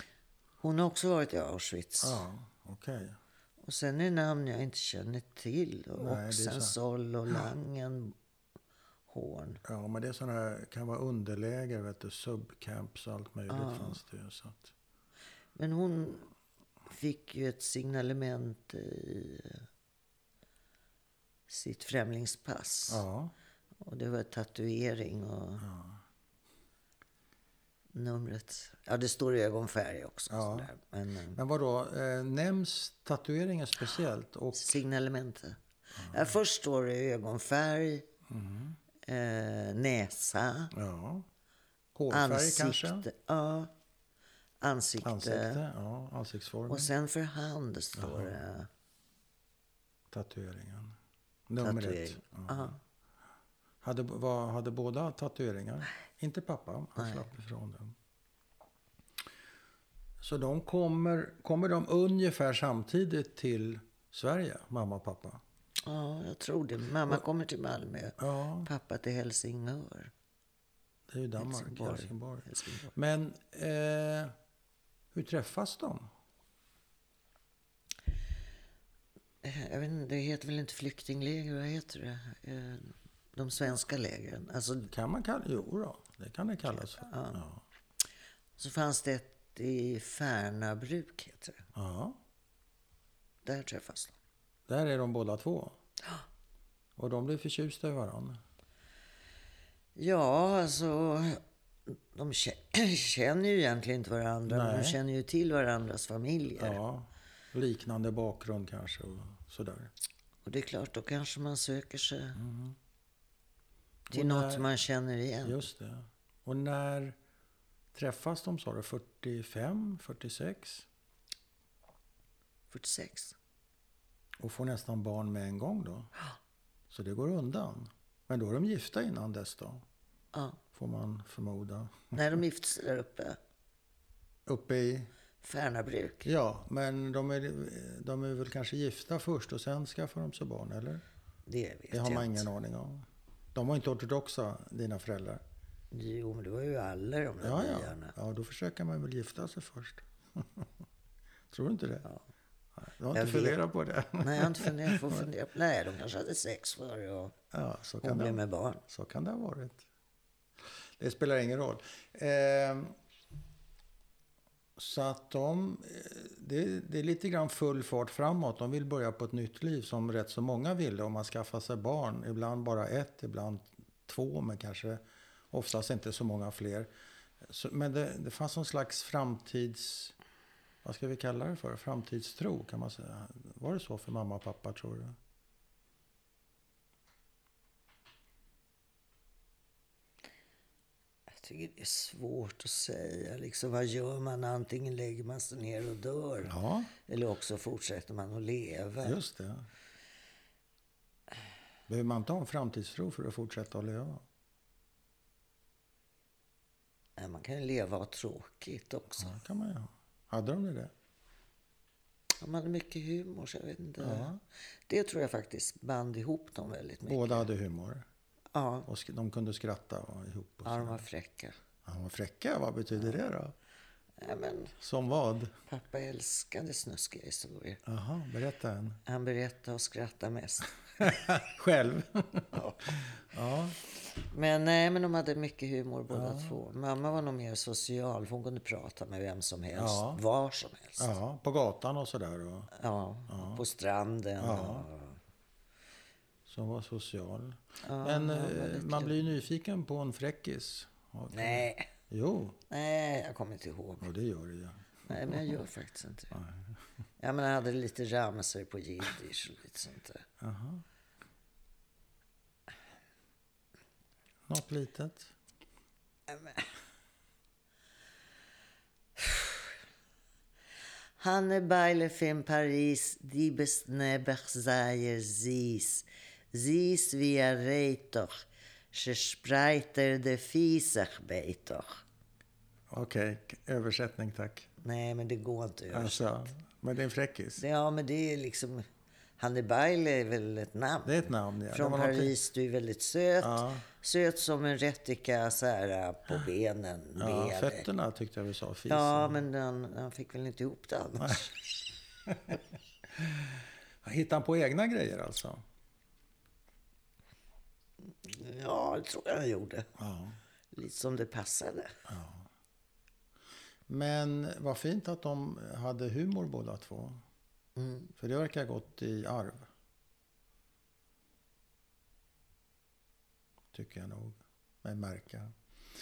[SPEAKER 2] hon har också varit i Auschwitz.
[SPEAKER 1] Ja, okej.
[SPEAKER 2] Och sen är namn jag inte känner till. Och
[SPEAKER 1] Nej, det är
[SPEAKER 2] Oxensoll och Langenhorn.
[SPEAKER 1] Ja, men det är sådana här, kan vara underläger, vet du, subcamps och allt möjligt fanns det ju. Så att,
[SPEAKER 2] Men hon fick ju ett signalement i sitt främlingspass.
[SPEAKER 1] ja,
[SPEAKER 2] Och det var tatuering och numret. Ja, det står i ögonfärg också.
[SPEAKER 1] Ja.
[SPEAKER 2] Sådär. Men, eh,
[SPEAKER 1] men vadå, eh, nämns tatueringen speciellt? Och,
[SPEAKER 2] Signalementet. Ja, först står det ögonfärg, eh, näsa,
[SPEAKER 1] ja, hårfärg
[SPEAKER 2] ansikte.
[SPEAKER 1] kanske?
[SPEAKER 2] Ja, ansikte.
[SPEAKER 1] Ansikte, ja, ansiktsformen,
[SPEAKER 2] Och sen för hand står det
[SPEAKER 1] tatueringen. Numret.
[SPEAKER 2] tatuering. Ja.
[SPEAKER 1] Hade, var, hade båda tatueringar? Inte pappa, han slapp ifrån den. Så de kommer, kommer de ungefär samtidigt till Sverige, mamma och pappa?
[SPEAKER 2] ja, jag tror det. Mamma kommer till Malmö,
[SPEAKER 1] Ja,
[SPEAKER 2] pappa till Helsingör.
[SPEAKER 1] det är ju Danmark,
[SPEAKER 2] Helsingborg.
[SPEAKER 1] Helsingborg. Helsingborg.
[SPEAKER 2] Helsingborg.
[SPEAKER 1] Men eh, hur träffas de?
[SPEAKER 2] Jag vet inte, det heter väl inte flyktingläger, vad heter det? Eh, De svenska lägren. Alltså,
[SPEAKER 1] Kan man kalla Jo då, det kan det kallas för. Ja.
[SPEAKER 2] så fanns det ett i Färnabruk, heter det.
[SPEAKER 1] Ja.
[SPEAKER 2] Där träffas de.
[SPEAKER 1] Där är de båda två. Och de blev förtjusta i varandra.
[SPEAKER 2] Ja, alltså... De kä- [CLEARS THROAT] känner ju egentligen inte varandra, men de
[SPEAKER 1] Nej.
[SPEAKER 2] känner ju till varandras familjer.
[SPEAKER 1] Ja, liknande bakgrund kanske och sådär.
[SPEAKER 2] Och det är klart, då kanske man söker sig
[SPEAKER 1] Och
[SPEAKER 2] till
[SPEAKER 1] när-
[SPEAKER 2] något man känner igen.
[SPEAKER 1] Mm. Just det. Och när träffas de sa du? 45, 46?
[SPEAKER 2] 46.
[SPEAKER 1] Och får nästan barn med en gång då? Så det går undan. Men då är de gifta innan dess då?
[SPEAKER 2] Ja.
[SPEAKER 1] Får man förmoda.
[SPEAKER 2] När de gifte sig där uppe,
[SPEAKER 1] Uppe i...
[SPEAKER 2] Färnabruk.
[SPEAKER 1] Ja, men de är, de är väl kanske gifta först och sen skaffar de sig barn, eller?
[SPEAKER 2] Det vet
[SPEAKER 1] Det har
[SPEAKER 2] jag
[SPEAKER 1] man
[SPEAKER 2] inte.
[SPEAKER 1] ingen aning om. De var inte ortodoxa, dina föräldrar?
[SPEAKER 2] Jo, men det var ju alla de där
[SPEAKER 1] Ja, ja.
[SPEAKER 2] byarna.
[SPEAKER 1] ja då försöker man väl gifta sig först. [LAUGHS] Tror du inte det?
[SPEAKER 2] Ja.
[SPEAKER 1] Du har inte
[SPEAKER 2] Jag vet.
[SPEAKER 1] funderat på det?
[SPEAKER 2] Nej, jag har inte
[SPEAKER 1] [LAUGHS]
[SPEAKER 2] funderat på att fundera. Nej, de kanske hade sex före och
[SPEAKER 1] Ja, så
[SPEAKER 2] hon
[SPEAKER 1] kan,
[SPEAKER 2] blev
[SPEAKER 1] det,
[SPEAKER 2] med barn.
[SPEAKER 1] så kan det ha varit. Det spelar ingen roll. Eh, så att de... eh, Det, det är lite grann full fart framåt. De vill börja på ett nytt liv som rätt så många ville. Om man skaffar sig barn, ibland bara ett, ibland två, men kanske oftast inte så många fler. Så, men det, det fanns någon slags framtids... Vad ska vi kalla det för? Framtidstro kan man säga. Var det så för mamma och pappa tror du?
[SPEAKER 2] Jag tycker det är svårt att säga. Liksom, vad gör man? Antingen lägger man sig ner och dör.
[SPEAKER 1] Ja.
[SPEAKER 2] Eller också fortsätter man att leva.
[SPEAKER 1] Just det. Behöver man inte ha en framtidstro för att fortsätta att leva?
[SPEAKER 2] Nej, man kan ju leva och ha tråkigt också.
[SPEAKER 1] Ja, det kan man ju ha. Hade de det?
[SPEAKER 2] Ja, man har mycket humor, så jag vet inte.
[SPEAKER 1] Ja.
[SPEAKER 2] Det tror jag faktiskt band ihop dem väldigt mycket.
[SPEAKER 1] Båda hade humor.
[SPEAKER 2] Ja,
[SPEAKER 1] Och sk- de kunde skratta och ihop. Och
[SPEAKER 2] ja de
[SPEAKER 1] så.
[SPEAKER 2] var fräcka.
[SPEAKER 1] Ja, de var fräcka, vad betyder det då?
[SPEAKER 2] Nej, men,
[SPEAKER 1] Som vad?
[SPEAKER 2] pappa älskade snuskiga historier.
[SPEAKER 1] Jaha, berätta en.
[SPEAKER 2] Han berättade och skrattade mest.
[SPEAKER 1] [LAUGHS]
[SPEAKER 2] [LAUGHS]
[SPEAKER 1] Själv? ja.
[SPEAKER 2] Men nej, men de hade mycket humor båda två. Mamma var nog mer social, för hon kunde prata med vem som helst,
[SPEAKER 1] Ja.
[SPEAKER 2] var som helst. Ja,
[SPEAKER 1] ja, på gatan och sådär. Och,
[SPEAKER 2] på stranden.
[SPEAKER 1] Ja.
[SPEAKER 2] Och,
[SPEAKER 1] som var social.
[SPEAKER 2] Ja,
[SPEAKER 1] Men
[SPEAKER 2] det
[SPEAKER 1] eh,
[SPEAKER 2] var lite
[SPEAKER 1] man blir ju nyfiken på en fräckis. Ja, kan-
[SPEAKER 2] nej,
[SPEAKER 1] Jo,
[SPEAKER 2] nej, jag kommer inte ihåg.
[SPEAKER 1] och det gör det ju.
[SPEAKER 2] Nej, men jag
[SPEAKER 1] [LAUGHS]
[SPEAKER 2] gör faktiskt inte det. Ja, men jag hade lite ramsor på jiddisch och lite sånt där.
[SPEAKER 1] Jaha. Något litet?
[SPEAKER 2] Hanne Beile fin Paris, die bist ne Bersaier Sies. Sies wie er reitoch, se spreiter de fisach beitoch.
[SPEAKER 1] Okej, k- översättning tack.
[SPEAKER 2] Nej, men det går inte att göra.
[SPEAKER 1] Alltså, men det är en fräckis.
[SPEAKER 2] Det- Ja, men det är liksom... Hanne Beile är väl ett namn?
[SPEAKER 1] Det är ett namn, ja. det
[SPEAKER 2] Från
[SPEAKER 1] var någonting-
[SPEAKER 2] Paris, du är väldigt söt.
[SPEAKER 1] Ja.
[SPEAKER 2] Söt som en rättika så här äh, på benen.
[SPEAKER 1] Ja,
[SPEAKER 2] med dig.
[SPEAKER 1] fötterna tyckte jag vi sa. Fisen.
[SPEAKER 2] Ja, men han, han fick väl inte ihop det annars.
[SPEAKER 1] Hittar han på egna grejer alltså?
[SPEAKER 2] [LAUGHS] Ja, det tror jag han gjorde.
[SPEAKER 1] Ja.
[SPEAKER 2] Lite som det passade.
[SPEAKER 1] Men vad fint att de hade humor båda två.
[SPEAKER 2] Mm,
[SPEAKER 1] För det verkar ha gått i arv. Tycker jag nog. Men märka.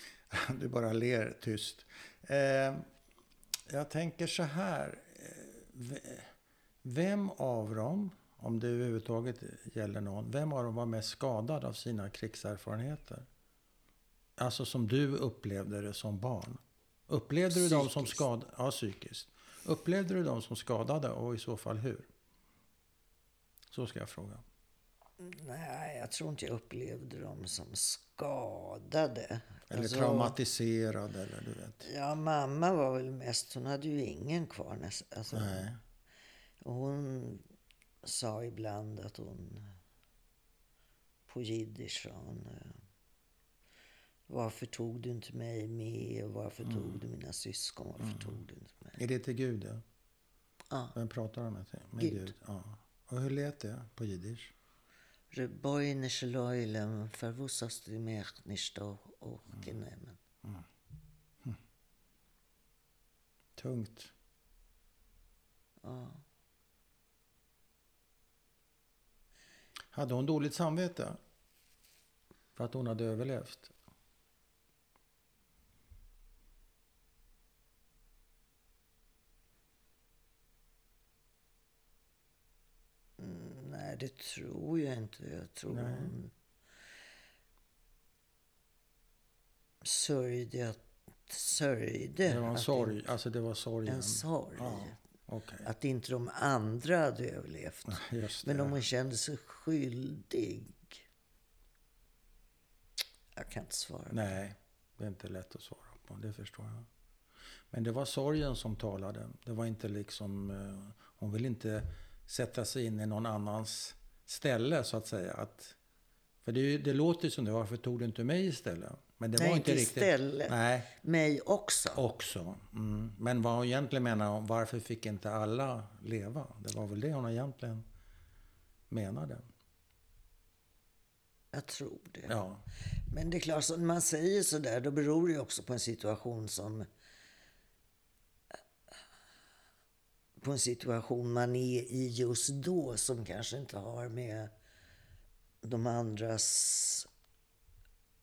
[SPEAKER 1] [LAUGHS] Du bara ler tyst. Eh, jag tänker så här. Eh, ve- Vem av dem, om det överhuvudtaget gäller någon, vem av dem var mest skadad av sina krigserfarenheter? Alltså som du upplevde det som barn. Upplevde du dem som
[SPEAKER 2] Psykiskt.
[SPEAKER 1] skadade? Ja, psykiskt. Upplevde du dem som skadade och i så fall hur? Så ska jag fråga.
[SPEAKER 2] Nej, jag tror inte jag upplevde dem som skadade.
[SPEAKER 1] Eller
[SPEAKER 2] Alltså,
[SPEAKER 1] traumatiserad eller du vet.
[SPEAKER 2] Ja, mamma var väl mest... Hon hade ju ingen kvar nästan. Alltså,
[SPEAKER 1] Nej.
[SPEAKER 2] och hon sa ibland att hon... På jiddisch sa hon... eh, Varför tog du inte mig med? Och varför tog du mina syskon? Varför tog du inte mig?
[SPEAKER 1] Är det till Gud? Ja?
[SPEAKER 2] Ja.
[SPEAKER 1] Vem pratar han med? till? med
[SPEAKER 2] Gud.
[SPEAKER 1] Gud. Ja. Och hur lät det på jiddisch?
[SPEAKER 2] Reboine shloilem, förvussas du mer nishto och genemen.
[SPEAKER 1] Tungt.
[SPEAKER 2] Ja.
[SPEAKER 1] Hade hon dåligt samvete? För att hon hade överlevt?
[SPEAKER 2] Mm, Nej, det tror jag inte. Jag tror
[SPEAKER 1] Nej.
[SPEAKER 2] hon sörjde, att- sörjde
[SPEAKER 1] Det var en
[SPEAKER 2] att
[SPEAKER 1] sorg. Alltså det var sorgen.
[SPEAKER 2] En sorg.
[SPEAKER 1] Ja, okej. [LAUGHS]
[SPEAKER 2] Att inte de andra hade överlevt.
[SPEAKER 1] Just det.
[SPEAKER 2] Men om hon kände sig skyldig? Jag kan inte svara.
[SPEAKER 1] Nej, det är inte lätt att svara på. Det förstår jag. Men det var sorgen som talade. Det var inte liksom... eh, Hon ville inte sätta sig in i någon annans ställe, så att säga. Att, för det, är ju- det låter ju som det. Varför tog du inte mig istället? Men det
[SPEAKER 2] Nej,
[SPEAKER 1] var inte
[SPEAKER 2] inte
[SPEAKER 1] riktigt...
[SPEAKER 2] istället.
[SPEAKER 1] Nej,
[SPEAKER 2] Mig också.
[SPEAKER 1] också. Mm. Men vad hon egentligen menar, varför fick inte alla leva? Det var väl det hon egentligen menade.
[SPEAKER 2] Jag tror det.
[SPEAKER 1] Ja,
[SPEAKER 2] Men det är klart, så när man säger sådär, då beror det ju också på en situation som... På en situation man är i just då som kanske inte har med de andras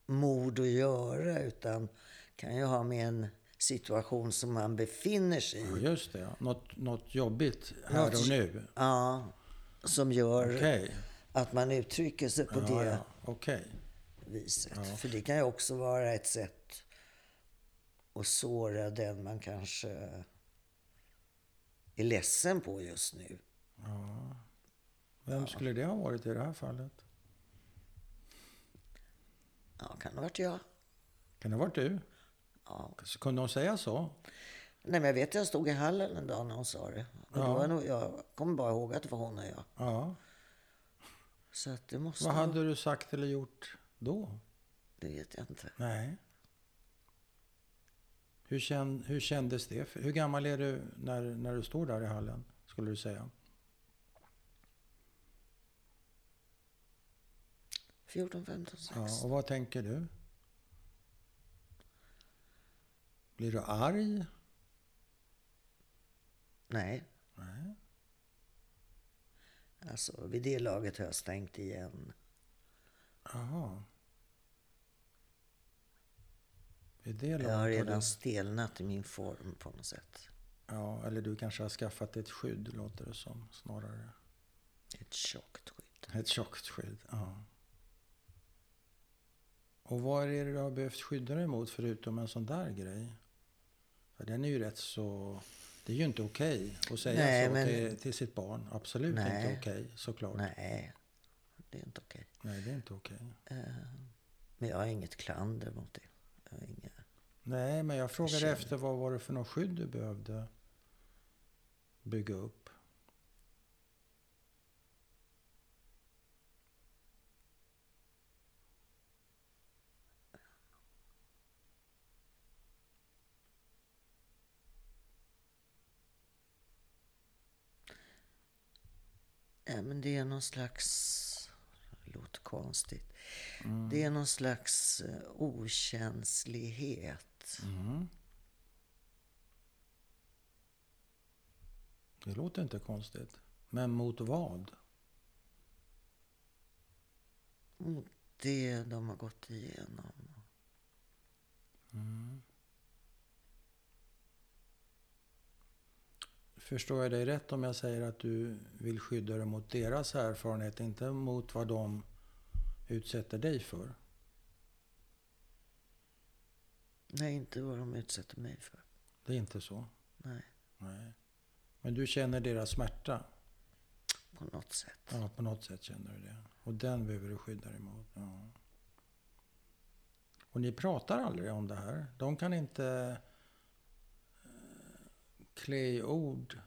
[SPEAKER 2] mod att göra utan kan ju ha med en situation som man befinner sig i.
[SPEAKER 1] just det. Något, något jobbigt här
[SPEAKER 2] Något-
[SPEAKER 1] och nu.
[SPEAKER 2] Ja, som gör
[SPEAKER 1] Okej.
[SPEAKER 2] att man uttrycker sig på
[SPEAKER 1] Ja,
[SPEAKER 2] det
[SPEAKER 1] ja. Okej.
[SPEAKER 2] viset. För det kan ju också vara ett sätt att såra den man kanske är ledsen på just nu.
[SPEAKER 1] Vem skulle det ha varit i det här fallet?
[SPEAKER 2] Ja, kan ha varit jag.
[SPEAKER 1] Kan det ha varit du?
[SPEAKER 2] Ja.
[SPEAKER 1] Så kunde hon säga så?
[SPEAKER 2] Nej, men jag vet att jag stod i hallen en dag när hon sa det. Och
[SPEAKER 1] Ja.
[SPEAKER 2] då var nog, jag kommer bara ihåg att det var hon och jag.
[SPEAKER 1] Ja.
[SPEAKER 2] Så att det måste
[SPEAKER 1] Vad
[SPEAKER 2] vara-
[SPEAKER 1] hade du sagt eller gjort då?
[SPEAKER 2] Det vet jag inte.
[SPEAKER 1] Nej. Hur, kän, hur kändes det? Hur gammal är du när, när du står där i hallen, skulle du säga?
[SPEAKER 2] 14, 15, 16.
[SPEAKER 1] Ja, och vad tänker du? Blir du arg?
[SPEAKER 2] Nej.
[SPEAKER 1] Nej.
[SPEAKER 2] Alltså, vid det laget har jag stängt igen.
[SPEAKER 1] Jaha. Är det långt
[SPEAKER 2] Jag har
[SPEAKER 1] har du-
[SPEAKER 2] redan stelnat i min form på något sätt.
[SPEAKER 1] Ja, eller du kanske har skaffat ett skydd, låter det som, snarare.
[SPEAKER 2] Ett tjockt skydd.
[SPEAKER 1] Ett tjockt skydd, ja. Och vad är det du har behövt skydda dig mot förutom en sån där grej? För den är ju rätt så... Det är ju inte okej att säga
[SPEAKER 2] Nej,
[SPEAKER 1] så
[SPEAKER 2] men-
[SPEAKER 1] till, till sitt barn. Absolut
[SPEAKER 2] Nej.
[SPEAKER 1] inte okej, såklart. Nej.
[SPEAKER 2] Nej, det är inte okej.
[SPEAKER 1] det är inte okej.
[SPEAKER 2] Eh, Men jag har inget klander mot det. Jag har inga...
[SPEAKER 1] Nej, men jag frågade
[SPEAKER 2] Känner-
[SPEAKER 1] efter vad var det för något skydd du behövde bygga upp?
[SPEAKER 2] Nej, men det är någon slags... Det låter konstigt.
[SPEAKER 1] Mm.
[SPEAKER 2] Det är någon slags eh, okänslighet.
[SPEAKER 1] Det låter inte konstigt. Men mot vad?
[SPEAKER 2] Mot det de har gått igenom.
[SPEAKER 1] Mm. Förstår jag dig rätt om jag säger att du vill skydda dig mot deras erfarenhet, inte mot vad de utsätter dig för?
[SPEAKER 2] Nej, inte vad de utsätter mig för.
[SPEAKER 1] Det är inte så?
[SPEAKER 2] Nej,
[SPEAKER 1] Nej. Men du känner deras smärta?
[SPEAKER 2] på något sätt.
[SPEAKER 1] Ja, på något sätt känner du det. Och den behöver du skydda dig mot. Ja. Och ni pratar aldrig om det här? De kan inte eh, klä i ord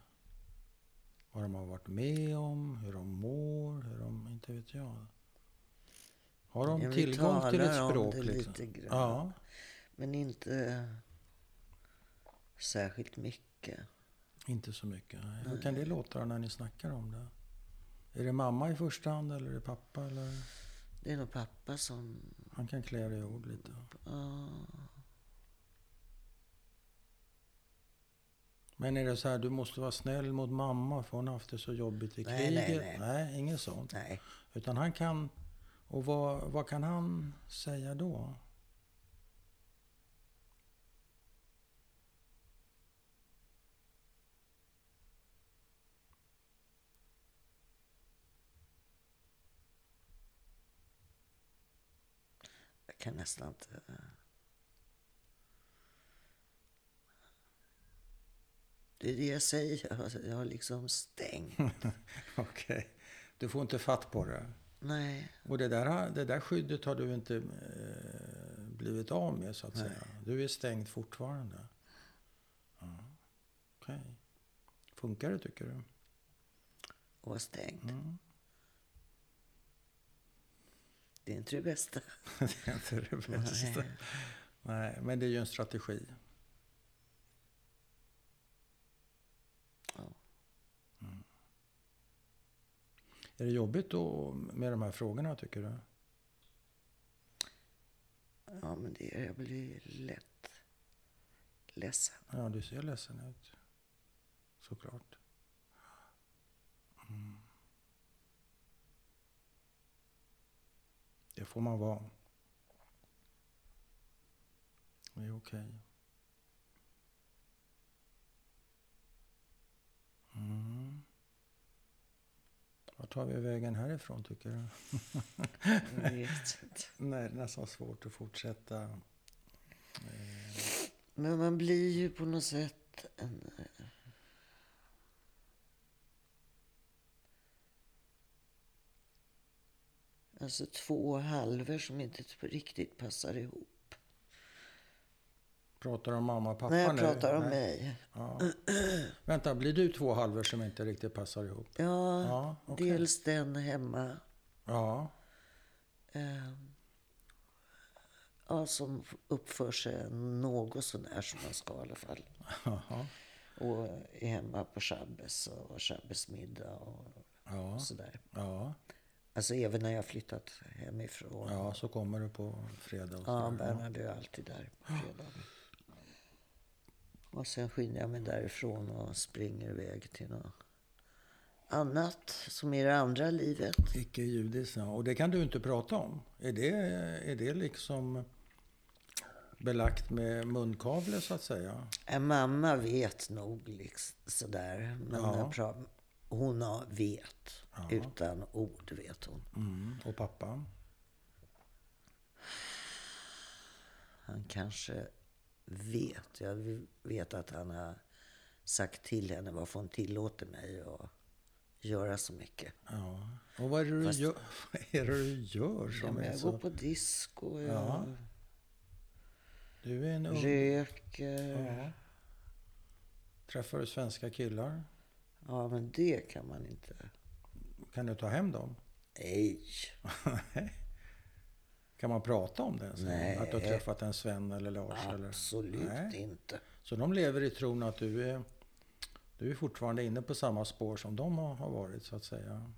[SPEAKER 1] vad de har varit med om, hur de mår, hur de... Inte vet jag. Har de
[SPEAKER 2] Ja, vi
[SPEAKER 1] tillgång till ett
[SPEAKER 2] talar om
[SPEAKER 1] språk?
[SPEAKER 2] det
[SPEAKER 1] liksom?
[SPEAKER 2] lite grann.
[SPEAKER 1] Ja.
[SPEAKER 2] Men inte särskilt mycket.
[SPEAKER 1] Inte så mycket. Nej. Hur kan det låta när ni snackar om det? Är det mamma i första hand eller är det pappa? Eller?
[SPEAKER 2] Det är nog pappa som...
[SPEAKER 1] Han kan klä det i ord lite.
[SPEAKER 2] ja.
[SPEAKER 1] Men är det så här, du måste vara snäll mot mamma för hon har haft det så jobbigt i
[SPEAKER 2] Nej,
[SPEAKER 1] kriget?
[SPEAKER 2] nej, nej.
[SPEAKER 1] inget sånt.
[SPEAKER 2] Nej.
[SPEAKER 1] Utan han kan... Och vad, vad kan han säga då?
[SPEAKER 2] Jag kan nästan inte... eh. Det är det jag säger. Jag har- Jag har liksom stängt.
[SPEAKER 1] [LAUGHS] Okej. Du får inte fatt på det.
[SPEAKER 2] Nej.
[SPEAKER 1] Och det där, har- det där skyddet har du inte eh, blivit av med så att säga. Du är stängd fortfarande. Ja. Okej. Funkar det tycker du?
[SPEAKER 2] Och var stängd.
[SPEAKER 1] Mm.
[SPEAKER 2] Det är inte det bästa.
[SPEAKER 1] [LAUGHS] [LAUGHS] det är inte det bästa. Nej.
[SPEAKER 2] Nej.
[SPEAKER 1] men det är ju en strategi.
[SPEAKER 2] Ja.
[SPEAKER 1] Mm. Är det jobbigt då med de här frågorna tycker du?
[SPEAKER 2] Ja, men det är, jag blir lätt
[SPEAKER 1] [LAUGHS]
[SPEAKER 2] ledsen.
[SPEAKER 1] Ja, du ser ledsen ut. Såklart. Mm. Det får man vara. Det är okej. Mm. Vart tar vi vägen härifrån tycker du?
[SPEAKER 2] Jag vet inte.
[SPEAKER 1] [LAUGHS] Nej, det är nästan svårt att fortsätta.
[SPEAKER 2] Men man blir ju på något sätt en... eh, Alltså två halvor som inte riktigt passar ihop.
[SPEAKER 1] Pratar du om mamma och pappa
[SPEAKER 2] När jag
[SPEAKER 1] nu?
[SPEAKER 2] pratar om
[SPEAKER 1] Nej.
[SPEAKER 2] mig.
[SPEAKER 1] Ja. Vänta, blir du två halvor som inte riktigt passar ihop?
[SPEAKER 2] Ja,
[SPEAKER 1] Ja, okej.
[SPEAKER 2] dels den hemma. [LAUGHS]
[SPEAKER 1] Ja,
[SPEAKER 2] Eh, ja, som uppför sig något sånär som man ska i alla fall.
[SPEAKER 1] jaha.
[SPEAKER 2] Och är hemma på shabbes och shabbesmiddag och,
[SPEAKER 1] Ja,
[SPEAKER 2] och sådär.
[SPEAKER 1] ja,
[SPEAKER 2] Alltså även när jag flyttat hemifrån. Ja,
[SPEAKER 1] ja, så kommer du på fredag. och så
[SPEAKER 2] ja
[SPEAKER 1] där.
[SPEAKER 2] Bernhard är alltid där på fredagen. Och sen skyndar jag mig därifrån och springer iväg till något annat som är det andra livet.
[SPEAKER 1] Icke-judiskt, ja. Och det kan du inte prata om. Är det, är det liksom belagt med munkavle så att säga?
[SPEAKER 2] Ja, Mamma vet nog liksom, sådär. Men
[SPEAKER 1] Ja.
[SPEAKER 2] jag pra- hon har- vet. Utan ord vet hon.
[SPEAKER 1] Mm. Och pappa?
[SPEAKER 2] Han kanske vet. Jag vet att han har sagt till henne varför hon tillåter mig att göra så mycket.
[SPEAKER 1] Ja. Och vad är det du,
[SPEAKER 2] Fast-
[SPEAKER 1] gör, [LAUGHS] vad är det du gör som
[SPEAKER 2] Ja, men
[SPEAKER 1] är
[SPEAKER 2] jag
[SPEAKER 1] Liksom, så...
[SPEAKER 2] går på disco, jag
[SPEAKER 1] Ja. Du är en ung...
[SPEAKER 2] röker. Ja.
[SPEAKER 1] Ja. Träffar du svenska killar?
[SPEAKER 2] men det kan man inte.
[SPEAKER 1] Kan du ta hem dem?
[SPEAKER 2] Nej.
[SPEAKER 1] Kan man prata om det? ens?
[SPEAKER 2] Nej.
[SPEAKER 1] Att du har träffat en Sven eller Lars? Eller?
[SPEAKER 2] Absolut
[SPEAKER 1] Nej.
[SPEAKER 2] inte.
[SPEAKER 1] Så de lever i tron att du är, du är fortfarande inne på samma spår som de har har varit så att säga.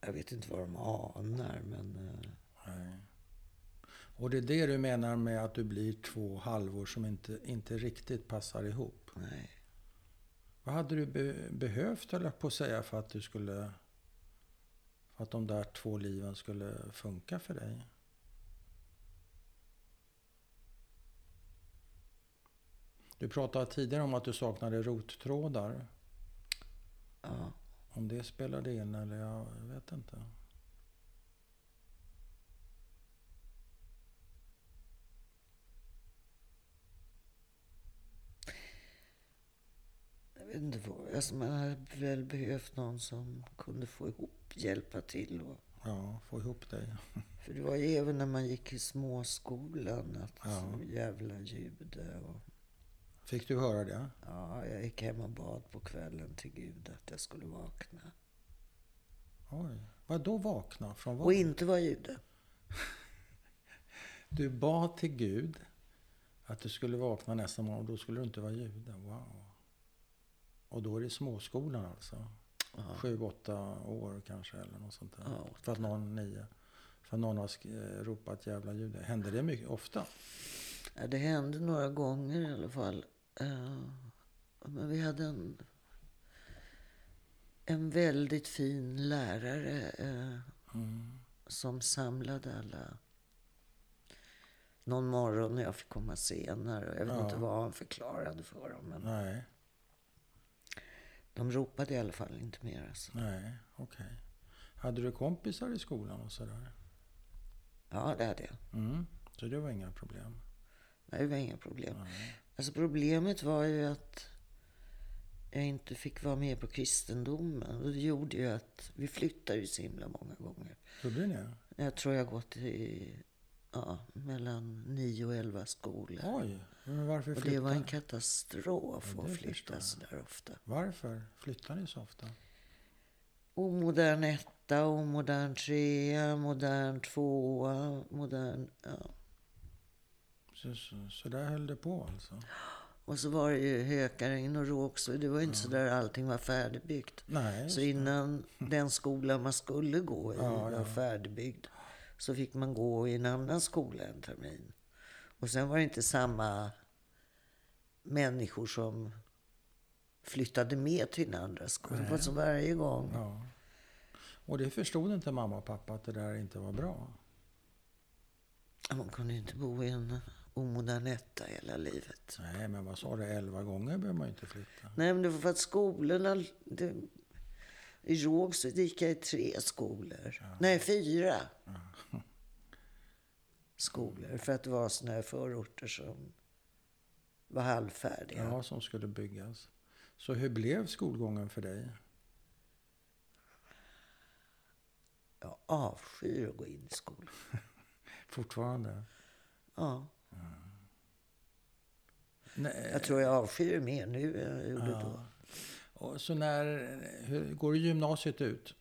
[SPEAKER 2] Jag vet inte vad de anar, men... eh,
[SPEAKER 1] Nej. Och det är det du menar med att du blir två halvor som inte, inte riktigt passar ihop.
[SPEAKER 2] Nej.
[SPEAKER 1] Vad hade du be- behövt, eller på att säga, för att du skulle... För att de där två liven skulle funka för dig? Du pratade tidigare om att du saknade rottrådar.
[SPEAKER 2] Ja.
[SPEAKER 1] Om det spelade in eller jag jag vet inte.
[SPEAKER 2] Jag vet inte vad. Alltså man hade väl behövt någon som kunde få ihop, hjälpa till. Och,
[SPEAKER 1] Ja, få ihop dig.
[SPEAKER 2] för det var ju även när man gick i småskolan att
[SPEAKER 1] Ja.
[SPEAKER 2] jävla jude. Och,
[SPEAKER 1] Fick du höra det?
[SPEAKER 2] ja, jag gick hem och bad på kvällen till Gud att jag skulle vakna.
[SPEAKER 1] Oj. Vadå vakna? Från
[SPEAKER 2] Och
[SPEAKER 1] vad?
[SPEAKER 2] inte vara jude.
[SPEAKER 1] Du bad till Gud att du skulle vakna nästa morgon och då skulle du inte vara jude. Wow. Och då är det småskolan alltså?
[SPEAKER 2] Ja.
[SPEAKER 1] Sju, åtta år kanske eller något sånt där.
[SPEAKER 2] Ja, åtta.
[SPEAKER 1] För att någon, nio. För att någon har sk- eh, ropat jävla jude. Händer det mycket ofta?
[SPEAKER 2] Ja, det hände några gånger i alla fall. Eh, Men vi hade en, en väldigt fin lärare eh,
[SPEAKER 1] Mm.
[SPEAKER 2] som samlade alla. Någon morgon när jag fick komma senare. Jag vet
[SPEAKER 1] Ja.
[SPEAKER 2] inte vad han förklarade för dem. Men
[SPEAKER 1] Nej,
[SPEAKER 2] de ropade i alla fall inte mer. Alltså.
[SPEAKER 1] nej, okej. Hade du kompisar i skolan och sådär?
[SPEAKER 2] Ja, det hade jag.
[SPEAKER 1] Mm. Så det var inga problem?
[SPEAKER 2] Nej, det var inga problem. Alltså problemet var ju att jag inte fick vara med på kristendomen. Och det gjorde ju att vi flyttade ju så himla många gånger.
[SPEAKER 1] Gjorde ni det?
[SPEAKER 2] Jag tror jag gått i ja, mellan nio och elva skolor.
[SPEAKER 1] Oj, men varför
[SPEAKER 2] och det var
[SPEAKER 1] flyttade
[SPEAKER 2] en katastrof
[SPEAKER 1] Ja, det
[SPEAKER 2] att
[SPEAKER 1] förstår
[SPEAKER 2] flytta
[SPEAKER 1] jag.
[SPEAKER 2] så där ofta.
[SPEAKER 1] Varför flyttade ni så ofta?
[SPEAKER 2] Omodern etta, omodern trea, modern tvåa, modern... Ja.
[SPEAKER 1] Så, så, så där höll det på alltså?
[SPEAKER 2] Och så var det ju Hökarängen och Rågsved. Det var ju inte så där allting var färdigbyggt.
[SPEAKER 1] Nej, just
[SPEAKER 2] Så
[SPEAKER 1] det.
[SPEAKER 2] innan den skola man skulle gå i
[SPEAKER 1] Ja,
[SPEAKER 2] var
[SPEAKER 1] ja.
[SPEAKER 2] färdigbyggd så fick man gå i en annan skola en termin. Och sen var det inte samma människor som flyttade med till den andra skolan. Det var så varje gång.
[SPEAKER 1] Ja. Och det förstod inte mamma och pappa att det där inte var bra?
[SPEAKER 2] Man kunde ju inte bo i en omodern etta hela livet.
[SPEAKER 1] Nej, men vad sa du? Elva gånger behöver man ju inte flytta.
[SPEAKER 2] Nej, men det var för att skolorna... Det, I Rågsved gick jag i tre skolor. Nej, fyra. Skolor. För att det var såna här förorter som var halvfärdiga.
[SPEAKER 1] Ja, som skulle byggas. Så hur blev skolgången för dig?
[SPEAKER 2] Jag avskyr att gå in i skolan.
[SPEAKER 1] Fortfarande?
[SPEAKER 2] Ja.
[SPEAKER 1] Nej. Eh.
[SPEAKER 2] Jag tror jag avskyr mer nu än jag gjorde då.
[SPEAKER 1] Och Så när... Hur, går gymnasiet ut?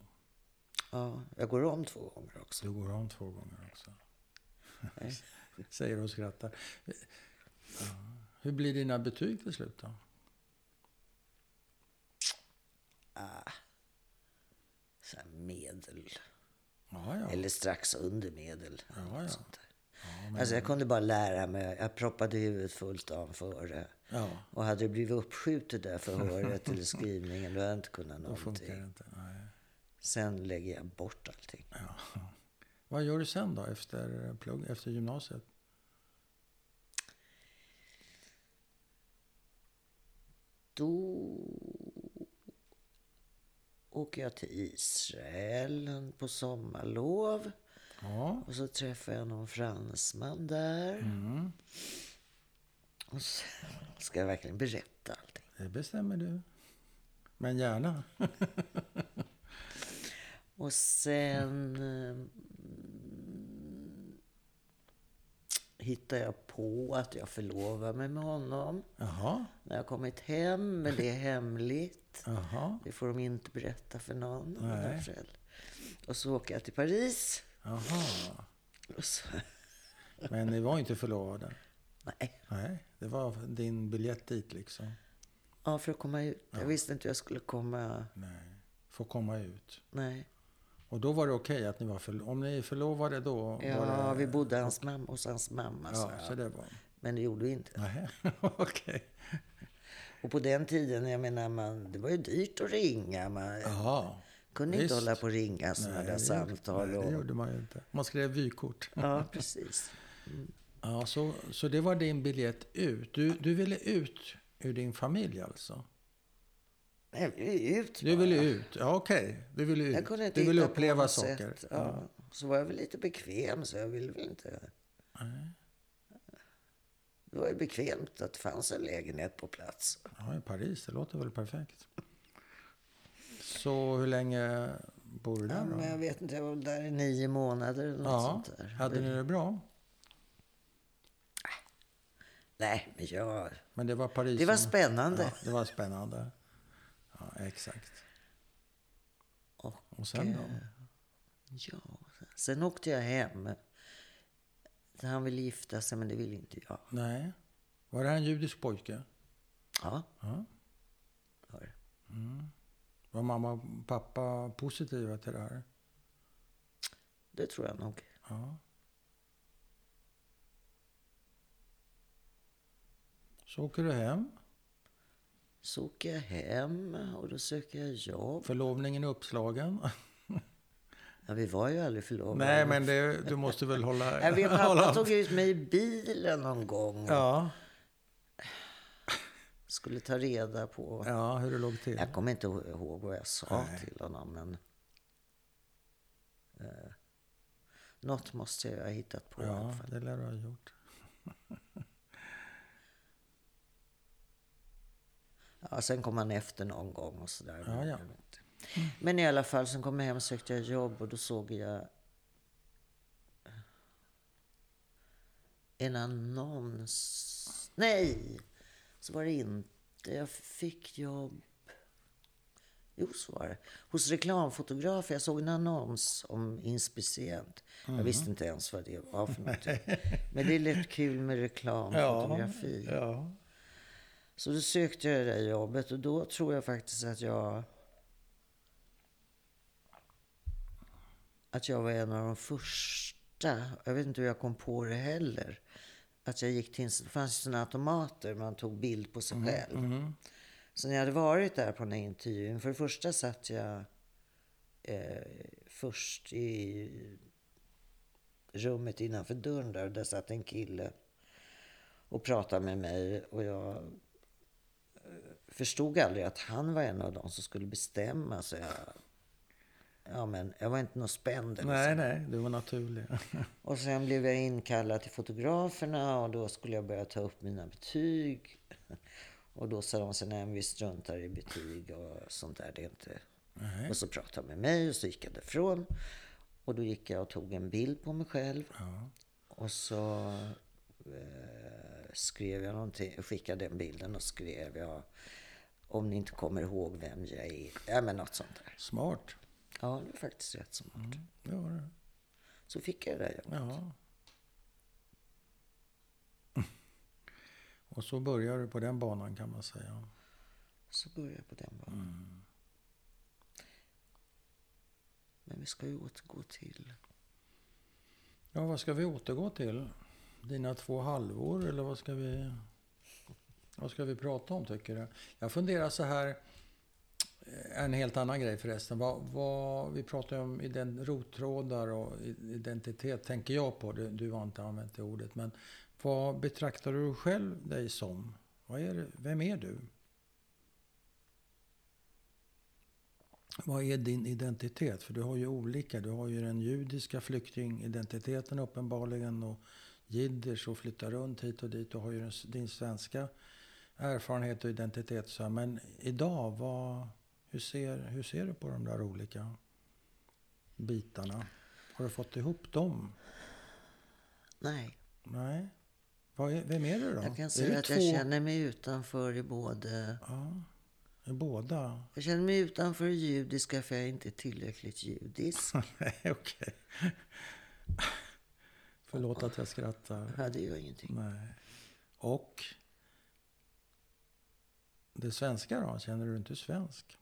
[SPEAKER 2] Ja, jag går om två gånger också.
[SPEAKER 1] Du går om två gånger också.
[SPEAKER 2] Nej.
[SPEAKER 1] Säger och skrattar. Ja. Hur blir dina betyg till slut då?
[SPEAKER 2] Så här medel.
[SPEAKER 1] Ja, ja.
[SPEAKER 2] Eller strax under medel. eller
[SPEAKER 1] Ja,
[SPEAKER 2] något
[SPEAKER 1] ja.
[SPEAKER 2] sånt där.
[SPEAKER 1] Ja, men,
[SPEAKER 2] Alltså jag kunde bara lära mig. Jag proppade huvudet fullt av före.
[SPEAKER 1] ja
[SPEAKER 2] Och hade det blivit uppskjutet där
[SPEAKER 1] [LAUGHS]
[SPEAKER 2] förhöret eller skrivningen, då hade jag inte kunnat
[SPEAKER 1] då funkar det
[SPEAKER 2] någonting.
[SPEAKER 1] inte. Nej.
[SPEAKER 2] Sen lägger jag bort allting.
[SPEAKER 1] Vad gör du sen då, efter, plugg, efter gymnasiet?
[SPEAKER 2] Då åker jag till Israel på sommarlov.
[SPEAKER 1] Ja.
[SPEAKER 2] Och så träffar jag någon fransman där.
[SPEAKER 1] Mm.
[SPEAKER 2] Och så ska jag verkligen berätta allting.
[SPEAKER 1] Det bestämmer du. Men gärna.
[SPEAKER 2] Och sen eh, hittar jag på att jag förlovar mig med honom.
[SPEAKER 1] Jaha,
[SPEAKER 2] när jag kommit hem, men det är hemligt.
[SPEAKER 1] jaha,
[SPEAKER 2] Det får de inte berätta för någon.
[SPEAKER 1] Nej.
[SPEAKER 2] mina föräldrar. Och så åker jag till Paris.
[SPEAKER 1] jaha.
[SPEAKER 2] Och så,
[SPEAKER 1] Men ni var inte förlovade?
[SPEAKER 2] nej.
[SPEAKER 1] Nej, det var din biljett dit liksom.
[SPEAKER 2] Ja, för att komma ut. Jag visste inte hur jag skulle komma.
[SPEAKER 1] Nej, får komma ut.
[SPEAKER 2] Nej.
[SPEAKER 1] Och då var det okej att ni var förlovade? Om ni är förlovade då?
[SPEAKER 2] Ja,
[SPEAKER 1] var det...
[SPEAKER 2] vi bodde hans mamma, hos hans mamma.
[SPEAKER 1] Alltså,
[SPEAKER 2] sa
[SPEAKER 1] Ja,
[SPEAKER 2] jag.
[SPEAKER 1] så det var...
[SPEAKER 2] Men det gjorde
[SPEAKER 1] [LAUGHS]
[SPEAKER 2] vi inte.
[SPEAKER 1] Nej, okej.
[SPEAKER 2] Och på den tiden, jag menar, man, det var ju dyrt att ringa. Man
[SPEAKER 1] Jaha.
[SPEAKER 2] kunde
[SPEAKER 1] visst.
[SPEAKER 2] inte hålla på och ringa sådana
[SPEAKER 1] Nej,
[SPEAKER 2] där
[SPEAKER 1] det-
[SPEAKER 2] samtal.
[SPEAKER 1] Nej, det
[SPEAKER 2] Och,
[SPEAKER 1] gjorde man ju inte. Man skrev vykort.
[SPEAKER 2] ja, precis.
[SPEAKER 1] Ja, så, så det var din biljett ut. Du, du ville ut ur din familj alltså?
[SPEAKER 2] Nej, vi är ut
[SPEAKER 1] Du
[SPEAKER 2] bara.
[SPEAKER 1] ville ut? Ja, okej. Du ville ut.
[SPEAKER 2] Jag kunde inte
[SPEAKER 1] du ville
[SPEAKER 2] hitta på
[SPEAKER 1] uppleva
[SPEAKER 2] något
[SPEAKER 1] saker.
[SPEAKER 2] Sätt. Ja. Så var jag väl lite bekväm, så jag ville väl inte...
[SPEAKER 1] Nej.
[SPEAKER 2] Det var ju bekvämt att det fanns en lägenhet på plats.
[SPEAKER 1] Ja, i Paris. Det låter väl perfekt. Så hur länge bor du
[SPEAKER 2] Ja,
[SPEAKER 1] där då?
[SPEAKER 2] men jag vet inte, jag var väl där i nio månader eller något
[SPEAKER 1] Ja,
[SPEAKER 2] sånt där.
[SPEAKER 1] hade ni det bra?
[SPEAKER 2] Nej, men jag...
[SPEAKER 1] Men det var Paris.
[SPEAKER 2] Det var
[SPEAKER 1] som-
[SPEAKER 2] spännande.
[SPEAKER 1] Ja, det var spännande. Ja, exakt.
[SPEAKER 2] Och,
[SPEAKER 1] Och sen då?
[SPEAKER 2] eh, Ja, sen åkte jag hem. Han ville gifta sig, men det ville inte jag.
[SPEAKER 1] Nej. Var det här en judisk pojke?
[SPEAKER 2] Ja,
[SPEAKER 1] Ja.
[SPEAKER 2] var det.
[SPEAKER 1] Var mamma och pappa positiva till det här?
[SPEAKER 2] det tror jag nog.
[SPEAKER 1] Ja. Så åker du hem.
[SPEAKER 2] Så åker jag hem och då söker jag jobb.
[SPEAKER 1] Förlovningen är
[SPEAKER 2] [LAUGHS]
[SPEAKER 1] uppslagen.
[SPEAKER 2] Ja, vi var ju aldrig förlovade.
[SPEAKER 1] Nej, men det, du måste väl hålla...
[SPEAKER 2] Jag vet,
[SPEAKER 1] hålla-
[SPEAKER 2] pappa tog ut mig i bilen någon gång. och
[SPEAKER 1] Ja,
[SPEAKER 2] Skulle ta reda på.
[SPEAKER 1] ja, hur det låg till.
[SPEAKER 2] Jag kommer inte ihåg vad jag sa
[SPEAKER 1] Nej.
[SPEAKER 2] till honom, men... Eh, något måste jag ha hittat på i alla
[SPEAKER 1] Ja,
[SPEAKER 2] fall.
[SPEAKER 1] det lär du ha gjort.
[SPEAKER 2] Ja, sen kom han efter någon gång och sådär.
[SPEAKER 1] Ja, ja.
[SPEAKER 2] men jag vet inte. Men i alla fall, sen kom jag hem och sökte jag jobb och då såg jag en annons. Nej! Så var det inte. Jag fick jobb... Jo, så var det. Hos reklamfotografer. Jag såg en annons om inspicient. Jag
[SPEAKER 1] Mm.
[SPEAKER 2] visste inte ens vad det var för någonting. Men det är lätt kul med reklamfotografi.
[SPEAKER 1] ja.
[SPEAKER 2] Så då sökte jag det där jobbet och då tror jag faktiskt att jag... Att jag var en av de första, jag vet inte hur jag kom på det heller. Att jag gick till, det fanns ju sådana automater, man tog bild på sig själv. Så när jag hade varit där på den här intervjun, för det första satt jag eh, först i rummet innanför dörren där, och där satt en kille och pratade med mig och jag eh, förstod aldrig att han var en av dem som skulle bestämma. Så jag, ja, men jag var inte någon spänd.
[SPEAKER 1] Nej,
[SPEAKER 2] eller
[SPEAKER 1] nej, du var naturlig. [LAUGHS]
[SPEAKER 2] och sen blev jag inkallad till fotograferna och då skulle jag börja ta upp mina betyg. Och då sa de så nej men vi struntar i betyg och sånt där. Det är inte... Och så pratade de med mig och så gick jag därifrån. Och då gick jag och tog en bild på mig själv. Och så eh, skrev jag någonting, skickade den bilden och skrev jag om ni inte kommer ihåg vem jag är. Ja men något sånt där.
[SPEAKER 1] Smart.
[SPEAKER 2] Ja det var faktiskt rätt smart.
[SPEAKER 1] Det var det.
[SPEAKER 2] Så fick jag det där jobbet.
[SPEAKER 1] Ja. [LAUGHS] Och så börjar du på den banan kan man säga.
[SPEAKER 2] Så börjar jag på den banan.
[SPEAKER 1] Mm.
[SPEAKER 2] Men vi ska ju återgå till...
[SPEAKER 1] Ja, vad ska vi återgå till? Dina två halvor eller vad ska vi... Vad ska vi prata om tycker du? Jag funderar så här. eh, En helt annan grej förresten. Vad, vad, vi pratar ju om ident- rottrådar och i- identitet tänker jag på. Du, du har inte använt det ordet. Men vad betraktar du själv dig som? Vad är, det- vem är du? Vad är din identitet? För du har ju olika. Du har ju den judiska flyktingidentiteten uppenbarligen och jiddisch och flyttar runt hit och dit. Du har ju den, din svenska erfarenhet och identitet. Så här. Men idag, vad, hur, ser, hur ser du på de där olika bitarna? Har du fått ihop dem?
[SPEAKER 2] Nej,
[SPEAKER 1] Nej. Vad är, vem är du då?
[SPEAKER 2] jag
[SPEAKER 1] Är
[SPEAKER 2] kan säga
[SPEAKER 1] du
[SPEAKER 2] att
[SPEAKER 1] två?
[SPEAKER 2] jag känner mig utanför i både...
[SPEAKER 1] Ja, i båda. [LAUGHS]
[SPEAKER 2] Jag känner mig utanför i judiska för jag är inte tillräckligt judisk.
[SPEAKER 1] Nej, okej.
[SPEAKER 2] [LAUGHS]
[SPEAKER 1] Förlåt att jag skrattar.
[SPEAKER 2] Ja, det gör ingenting.
[SPEAKER 1] Nej. Och det svenska då? Känner du inte svensk?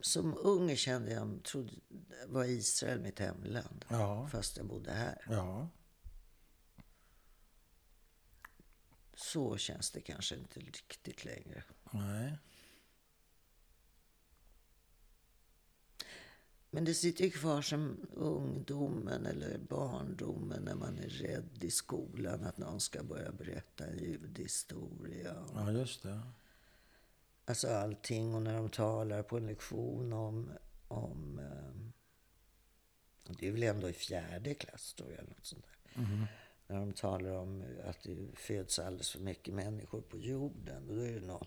[SPEAKER 2] Som ung kände jag, trodde, var Israel mitt hemland.
[SPEAKER 1] Ja.
[SPEAKER 2] Fast jag bodde här.
[SPEAKER 1] Ja.
[SPEAKER 2] Så känns det kanske inte riktigt längre.
[SPEAKER 1] Nej.
[SPEAKER 2] Men det sitter ju kvar som ungdomen eller barndomen när man är rädd i skolan att någon ska börja berätta en judehistoria.
[SPEAKER 1] Ja, just det.
[SPEAKER 2] Alltså allting och när de talar på en lektion om... om ehm, det är väl ändå i fjärde klass tror jag. eller Något sånt där.
[SPEAKER 1] Mm-hmm.
[SPEAKER 2] När de talar om att det föds alldeles för mycket människor på jorden. Och då är det någon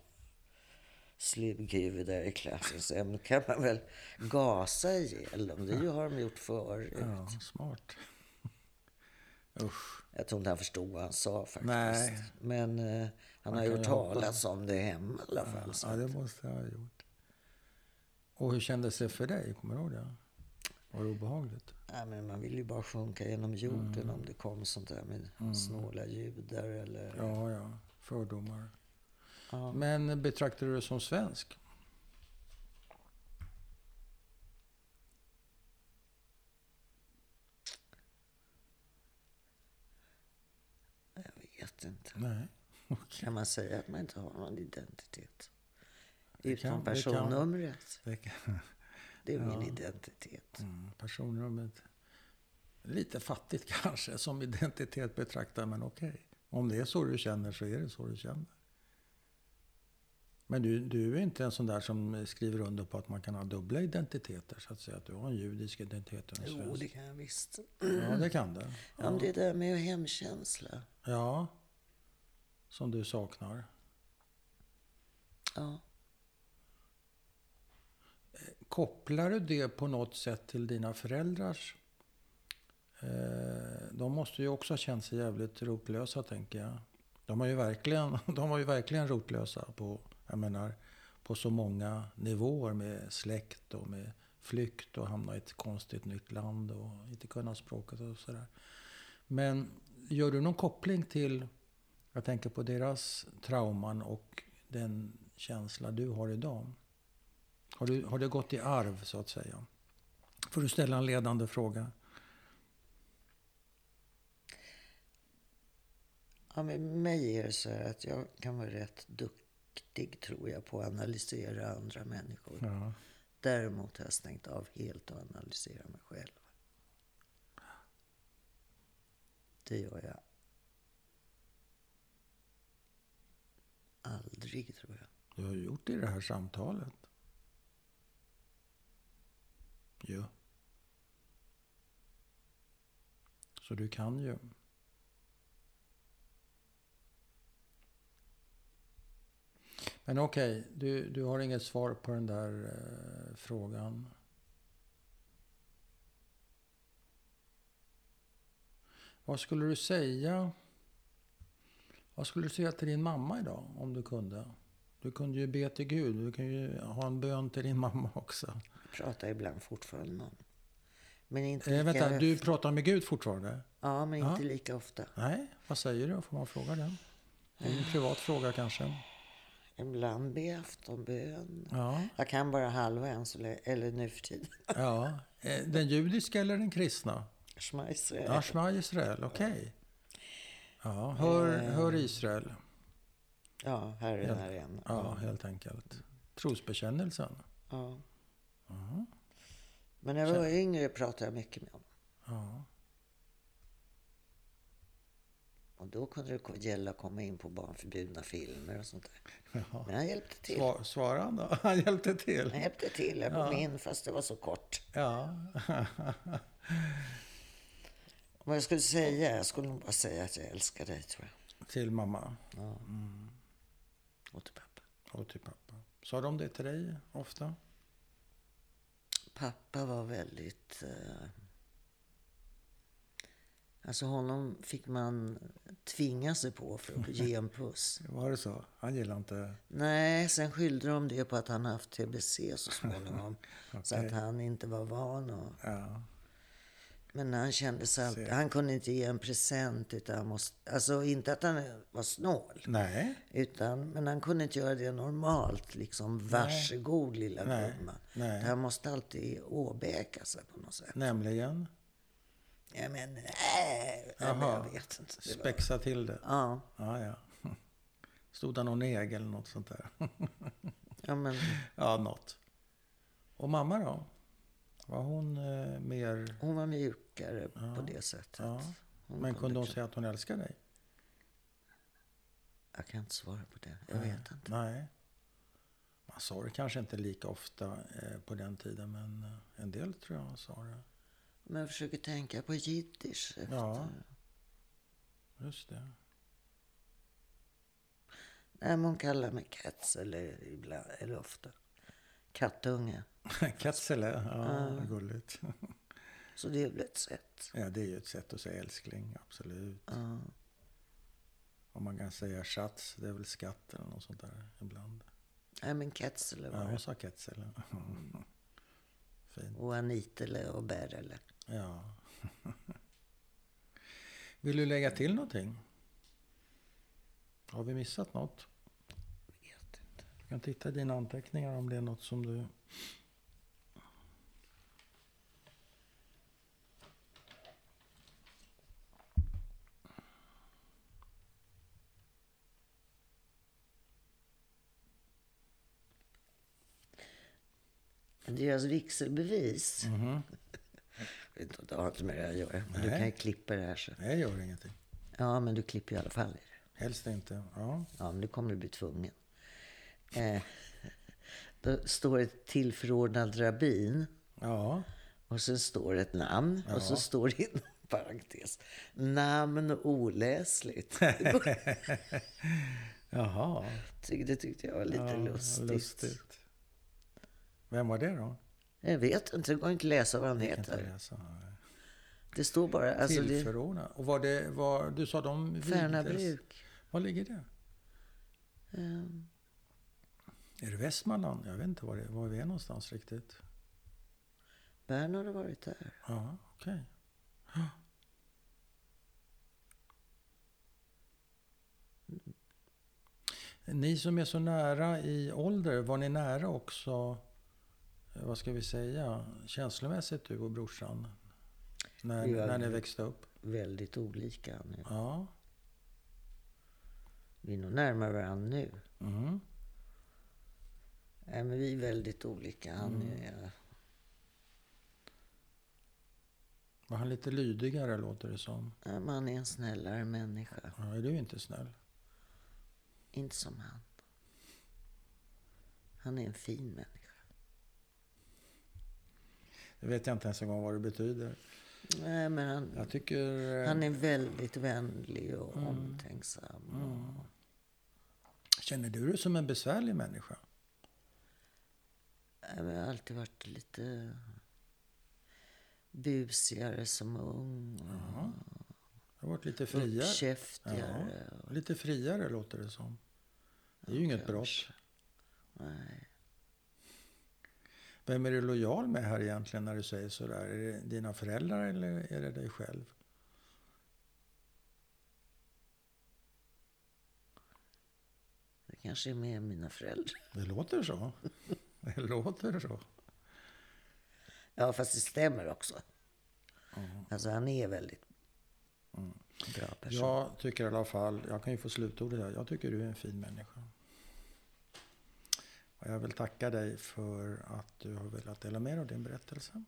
[SPEAKER 2] slughuvud där i klassen. Sen kan man väl gasa ihjäl dem. Det har de gjort förut.
[SPEAKER 1] Ja, smart. Usch.
[SPEAKER 2] Jag tror inte han förstod vad han sa faktiskt.
[SPEAKER 1] Nej.
[SPEAKER 2] Men eh, han har
[SPEAKER 1] kan
[SPEAKER 2] ju
[SPEAKER 1] ju
[SPEAKER 2] hört
[SPEAKER 1] hoppas.
[SPEAKER 2] talas om det hemma i alla fall. så
[SPEAKER 1] Ja, det måste jag ha gjort. Och hur kändes det för dig? Kommer du ihåg det? Var det obehagligt?
[SPEAKER 2] Nej, men man vill ju bara sjunka genom jorden
[SPEAKER 1] Mm.
[SPEAKER 2] om det kom sånt där med snåla judar eller...
[SPEAKER 1] Ja, ja. Fördomar.
[SPEAKER 2] Ja.
[SPEAKER 1] Men betraktar du dig som svensk?
[SPEAKER 2] vet inte.
[SPEAKER 1] Nej. [LAUGHS] Okej.
[SPEAKER 2] Kan man säga att man inte har någon identitet?
[SPEAKER 1] Det
[SPEAKER 2] Utom
[SPEAKER 1] kan- det kan-
[SPEAKER 2] personnumret.
[SPEAKER 1] Det kan-
[SPEAKER 2] Det är min
[SPEAKER 1] Ja.
[SPEAKER 2] identitet.
[SPEAKER 1] Mm, Personnumret. Lite fattigt [LAUGHS] kanske, som identitet betraktar men okej. Om det är så du känner så är det så du känner. Men du, du är inte en sån där som skriver under på att man kan ha dubbla identiteter så att säga. Att du har en judisk identitet och en svensk.
[SPEAKER 2] Jo, det kan jag visst.
[SPEAKER 1] Ja, det kan du.
[SPEAKER 2] Ja, men det där med hemkänsla.
[SPEAKER 1] Ja. Som du saknar.
[SPEAKER 2] Ja.
[SPEAKER 1] Kopplar du det på något sätt till dina föräldrars? Eh, de måste ju också ha känt sig jävligt rotlösa, tänker jag. De var ju verkligen, [LAUGHS] de var ju verkligen rotlösa på, jag menar, på så många nivåer med släkt och med flykt och hamna i ett konstigt nytt land och inte kunna språket och sådär. Men gör du någon koppling till, jag tänker på deras trauman och den känsla du har idag? Har, du, har det gått i arv, så att säga? Får du ställa en ledande fråga?
[SPEAKER 2] Ja, med mig är det så här att jag kan vara rätt duktig, tror jag, på att analysera andra människor.
[SPEAKER 1] Ja.
[SPEAKER 2] Däremot har jag stängt av helt att analysera mig själv. Det gör jag aldrig, tror jag.
[SPEAKER 1] Du har gjort det i det här samtalet. Ja. Så du kan ju. Men okej, du, du har inget svar på den där eh, frågan. Vad skulle du säga? Vad skulle du säga till din mamma idag om du kunde? Du kunde ju be till Gud. Du kan ju ha en bön till din mamma också.
[SPEAKER 2] Jag pratar ibland fortfarande med honom. Men inte lika,
[SPEAKER 1] Eh, vänta, du pratar med Gud fortfarande?
[SPEAKER 2] ja, men inte
[SPEAKER 1] Ja.
[SPEAKER 2] lika ofta.
[SPEAKER 1] Nej, vad säger du? Får man fråga det? Det är en privat fråga kanske.
[SPEAKER 2] Ibland ber aftonbön.
[SPEAKER 1] Ja,
[SPEAKER 2] Jag kan bara halva än så länge, eller nu för tiden. [LAUGHS]
[SPEAKER 1] ja. Eh, Den judiska eller den kristna?
[SPEAKER 2] Schmeiser.
[SPEAKER 1] Ja, Shema Israel, okej. Ja, hör, hör Israel.
[SPEAKER 2] Ja, här är den här igen.
[SPEAKER 1] Ja, helt enkelt. Trosbekännelsen.
[SPEAKER 2] Ja. Men när jag var yngre pratade jag mycket med honom.
[SPEAKER 1] Ja.
[SPEAKER 2] Och då kunde det ko- gälla att komma in på barnförbjudna filmer och sånt där.
[SPEAKER 1] ja.
[SPEAKER 2] Men han hjälpte till. Eh.
[SPEAKER 1] Svar, svarade han då? [LAUGHS] Han hjälpte till?
[SPEAKER 2] Han hjälpte till. Jag kom in fast det var så kort.
[SPEAKER 1] Ja.
[SPEAKER 2] Vad jag skulle säga? Jag skulle nog bara säga att jag älskar dig tror jag.
[SPEAKER 1] Till mamma
[SPEAKER 2] Och till pappa.
[SPEAKER 1] och till pappa. Sa de det till dig ofta?
[SPEAKER 2] Pappa var väldigt... Eh... Alltså honom fick man tvinga sig på för att ge en puss.
[SPEAKER 1] Var det så? Han gillade inte...
[SPEAKER 2] Nej, sen skyllde de det på att han haft TBC så småningom. Så att han inte var van och...
[SPEAKER 1] Ja.
[SPEAKER 2] Men han kände sig alltid...
[SPEAKER 1] Se.
[SPEAKER 2] Han kunde inte ge en present utan han måste... Alltså inte att han var snål.
[SPEAKER 1] Nej.
[SPEAKER 2] Utan, men han kunde inte göra det normalt, liksom varsågod lilla
[SPEAKER 1] Nej.
[SPEAKER 2] gumman.
[SPEAKER 1] Nej.
[SPEAKER 2] Han måste alltid åbäka sig på något sätt.
[SPEAKER 1] Nämligen?
[SPEAKER 2] Ja, men, nej, nej, men
[SPEAKER 1] Jaha.
[SPEAKER 2] jag vet inte. Det var,
[SPEAKER 1] Spexa till det?
[SPEAKER 2] ja,
[SPEAKER 1] Ja, ja. Stod han och neg eller något sånt där?
[SPEAKER 2] ja, men
[SPEAKER 1] Ja, något. Och mamma då? Var hon eh, mer...
[SPEAKER 2] hon var mjukare på det sättet.
[SPEAKER 1] Ja.
[SPEAKER 2] Hon
[SPEAKER 1] Men kunde hon
[SPEAKER 2] knä-
[SPEAKER 1] säga att hon älskar dig?
[SPEAKER 2] Jag kan inte svara på det. Jag vet inte.
[SPEAKER 1] Nej. Man sa det kanske inte lika ofta eh, på den tiden, men eh, en del tror jag sa det.
[SPEAKER 2] Men jag försöker tänka på jiddisch. efter.
[SPEAKER 1] Ja. Just det. [LAUGHS]
[SPEAKER 2] Nej, men hon kallar mig Katz, eller, ibland, eller ofta. Kattunge.
[SPEAKER 1] Katsele, ja, gulligt.
[SPEAKER 2] Så det är väl ett sätt.
[SPEAKER 1] Ja, det är ju ett sätt att säga älskling, absolut. Om man kan säga schatz, det är väl skatt eller något sånt där ibland.
[SPEAKER 2] Nej, men Katzele
[SPEAKER 1] Ja,
[SPEAKER 2] var
[SPEAKER 1] hon
[SPEAKER 2] det.
[SPEAKER 1] sa Quetzal. ja. [LAUGHS] Fint.
[SPEAKER 2] Och Anitele och Berele.
[SPEAKER 1] Ja. [LAUGHS] Vill du lägga till någonting? Har vi missat något?
[SPEAKER 2] Vet inte.
[SPEAKER 1] Du kan titta i dina anteckningar om det är något som du...
[SPEAKER 2] Deras alltså vigselbevis.
[SPEAKER 1] Mhm.
[SPEAKER 2] Jag vet inte, Det har inte med det här att göra. Men du
[SPEAKER 1] Nej.
[SPEAKER 2] kan ju klippa det här. Så.
[SPEAKER 1] Nej, det gör ingenting.
[SPEAKER 2] Ja, men du klipper ju i alla fall i det.
[SPEAKER 1] Helst inte. Ja.
[SPEAKER 2] Ja, men nu kommer du bli tvungen. Eh, [LAUGHS] då står det tillförordnad rabbin
[SPEAKER 1] Ja.
[SPEAKER 2] och sen står det ett namn och så står det inom [LAUGHS] parentes namn oläsligt. Det går-
[SPEAKER 1] Jaha.
[SPEAKER 2] tyck- Det tyckte jag var lite
[SPEAKER 1] ja,
[SPEAKER 2] lustigt.
[SPEAKER 1] lustigt. Vem var det då?
[SPEAKER 2] Jag vet inte, det går inte att läsa vad han heter.
[SPEAKER 1] Andreas, ja.
[SPEAKER 2] Det står bara... Alltså det,
[SPEAKER 1] Tillförordnad. Och var det, var, du sa de vigdes?
[SPEAKER 2] Färnabruk.
[SPEAKER 1] Var ligger det?
[SPEAKER 2] Eh,
[SPEAKER 1] Är det Västmanland? Jag vet inte var, det, var vi är någonstans riktigt.
[SPEAKER 2] Bern har det varit där.
[SPEAKER 1] Ja, okej. Ni som är så nära i ålder, var ni nära också, eh, vad ska vi säga, känslomässigt du och brorsan? När,
[SPEAKER 2] Ja,
[SPEAKER 1] när ni
[SPEAKER 2] det-
[SPEAKER 1] växte upp?
[SPEAKER 2] Väldigt olika nu.
[SPEAKER 1] Ja.
[SPEAKER 2] Vi är nog närmare varandra nu.
[SPEAKER 1] Mm.
[SPEAKER 2] Nej, men vi är väldigt olika. Han är...
[SPEAKER 1] Var han lite lydigare låter det som?
[SPEAKER 2] Nej, men han är en snällare människa.
[SPEAKER 1] Ja, är du inte snäll?
[SPEAKER 2] Inte som han. Han är en fin människa.
[SPEAKER 1] Det vet jag inte ens en gång vad det betyder.
[SPEAKER 2] Nej, men han,
[SPEAKER 1] Jag tycker... eh, Mm.
[SPEAKER 2] han är väldigt vänlig och omtänksam. Och,
[SPEAKER 1] Känner du dig som en besvärlig människa?
[SPEAKER 2] Nej, men jag har alltid varit lite busigare som ung.
[SPEAKER 1] Ja. Du har varit lite
[SPEAKER 2] Och
[SPEAKER 1] friare.
[SPEAKER 2] uppkäftigare.
[SPEAKER 1] Ja, lite friare låter det som. Det är ju inget brott.
[SPEAKER 2] Nej.
[SPEAKER 1] Vem är du lojal med här egentligen när du säger sådär? Är det dina föräldrar eller är det dig själv?
[SPEAKER 2] Det kanske är mer mina föräldrar. [LAUGHS]
[SPEAKER 1] Det låter så. Det låter så.
[SPEAKER 2] Ja, fast det stämmer också. Alltså, han är väldigt
[SPEAKER 1] Mm.
[SPEAKER 2] bra person.
[SPEAKER 1] Jag tycker i alla fall, jag kan ju få slutordet här, jag tycker du är en fin människa. Och jag vill tacka dig för att du har velat dela med dig av din berättelse.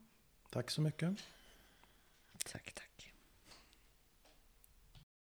[SPEAKER 1] Tack så mycket.
[SPEAKER 2] Tack, tack.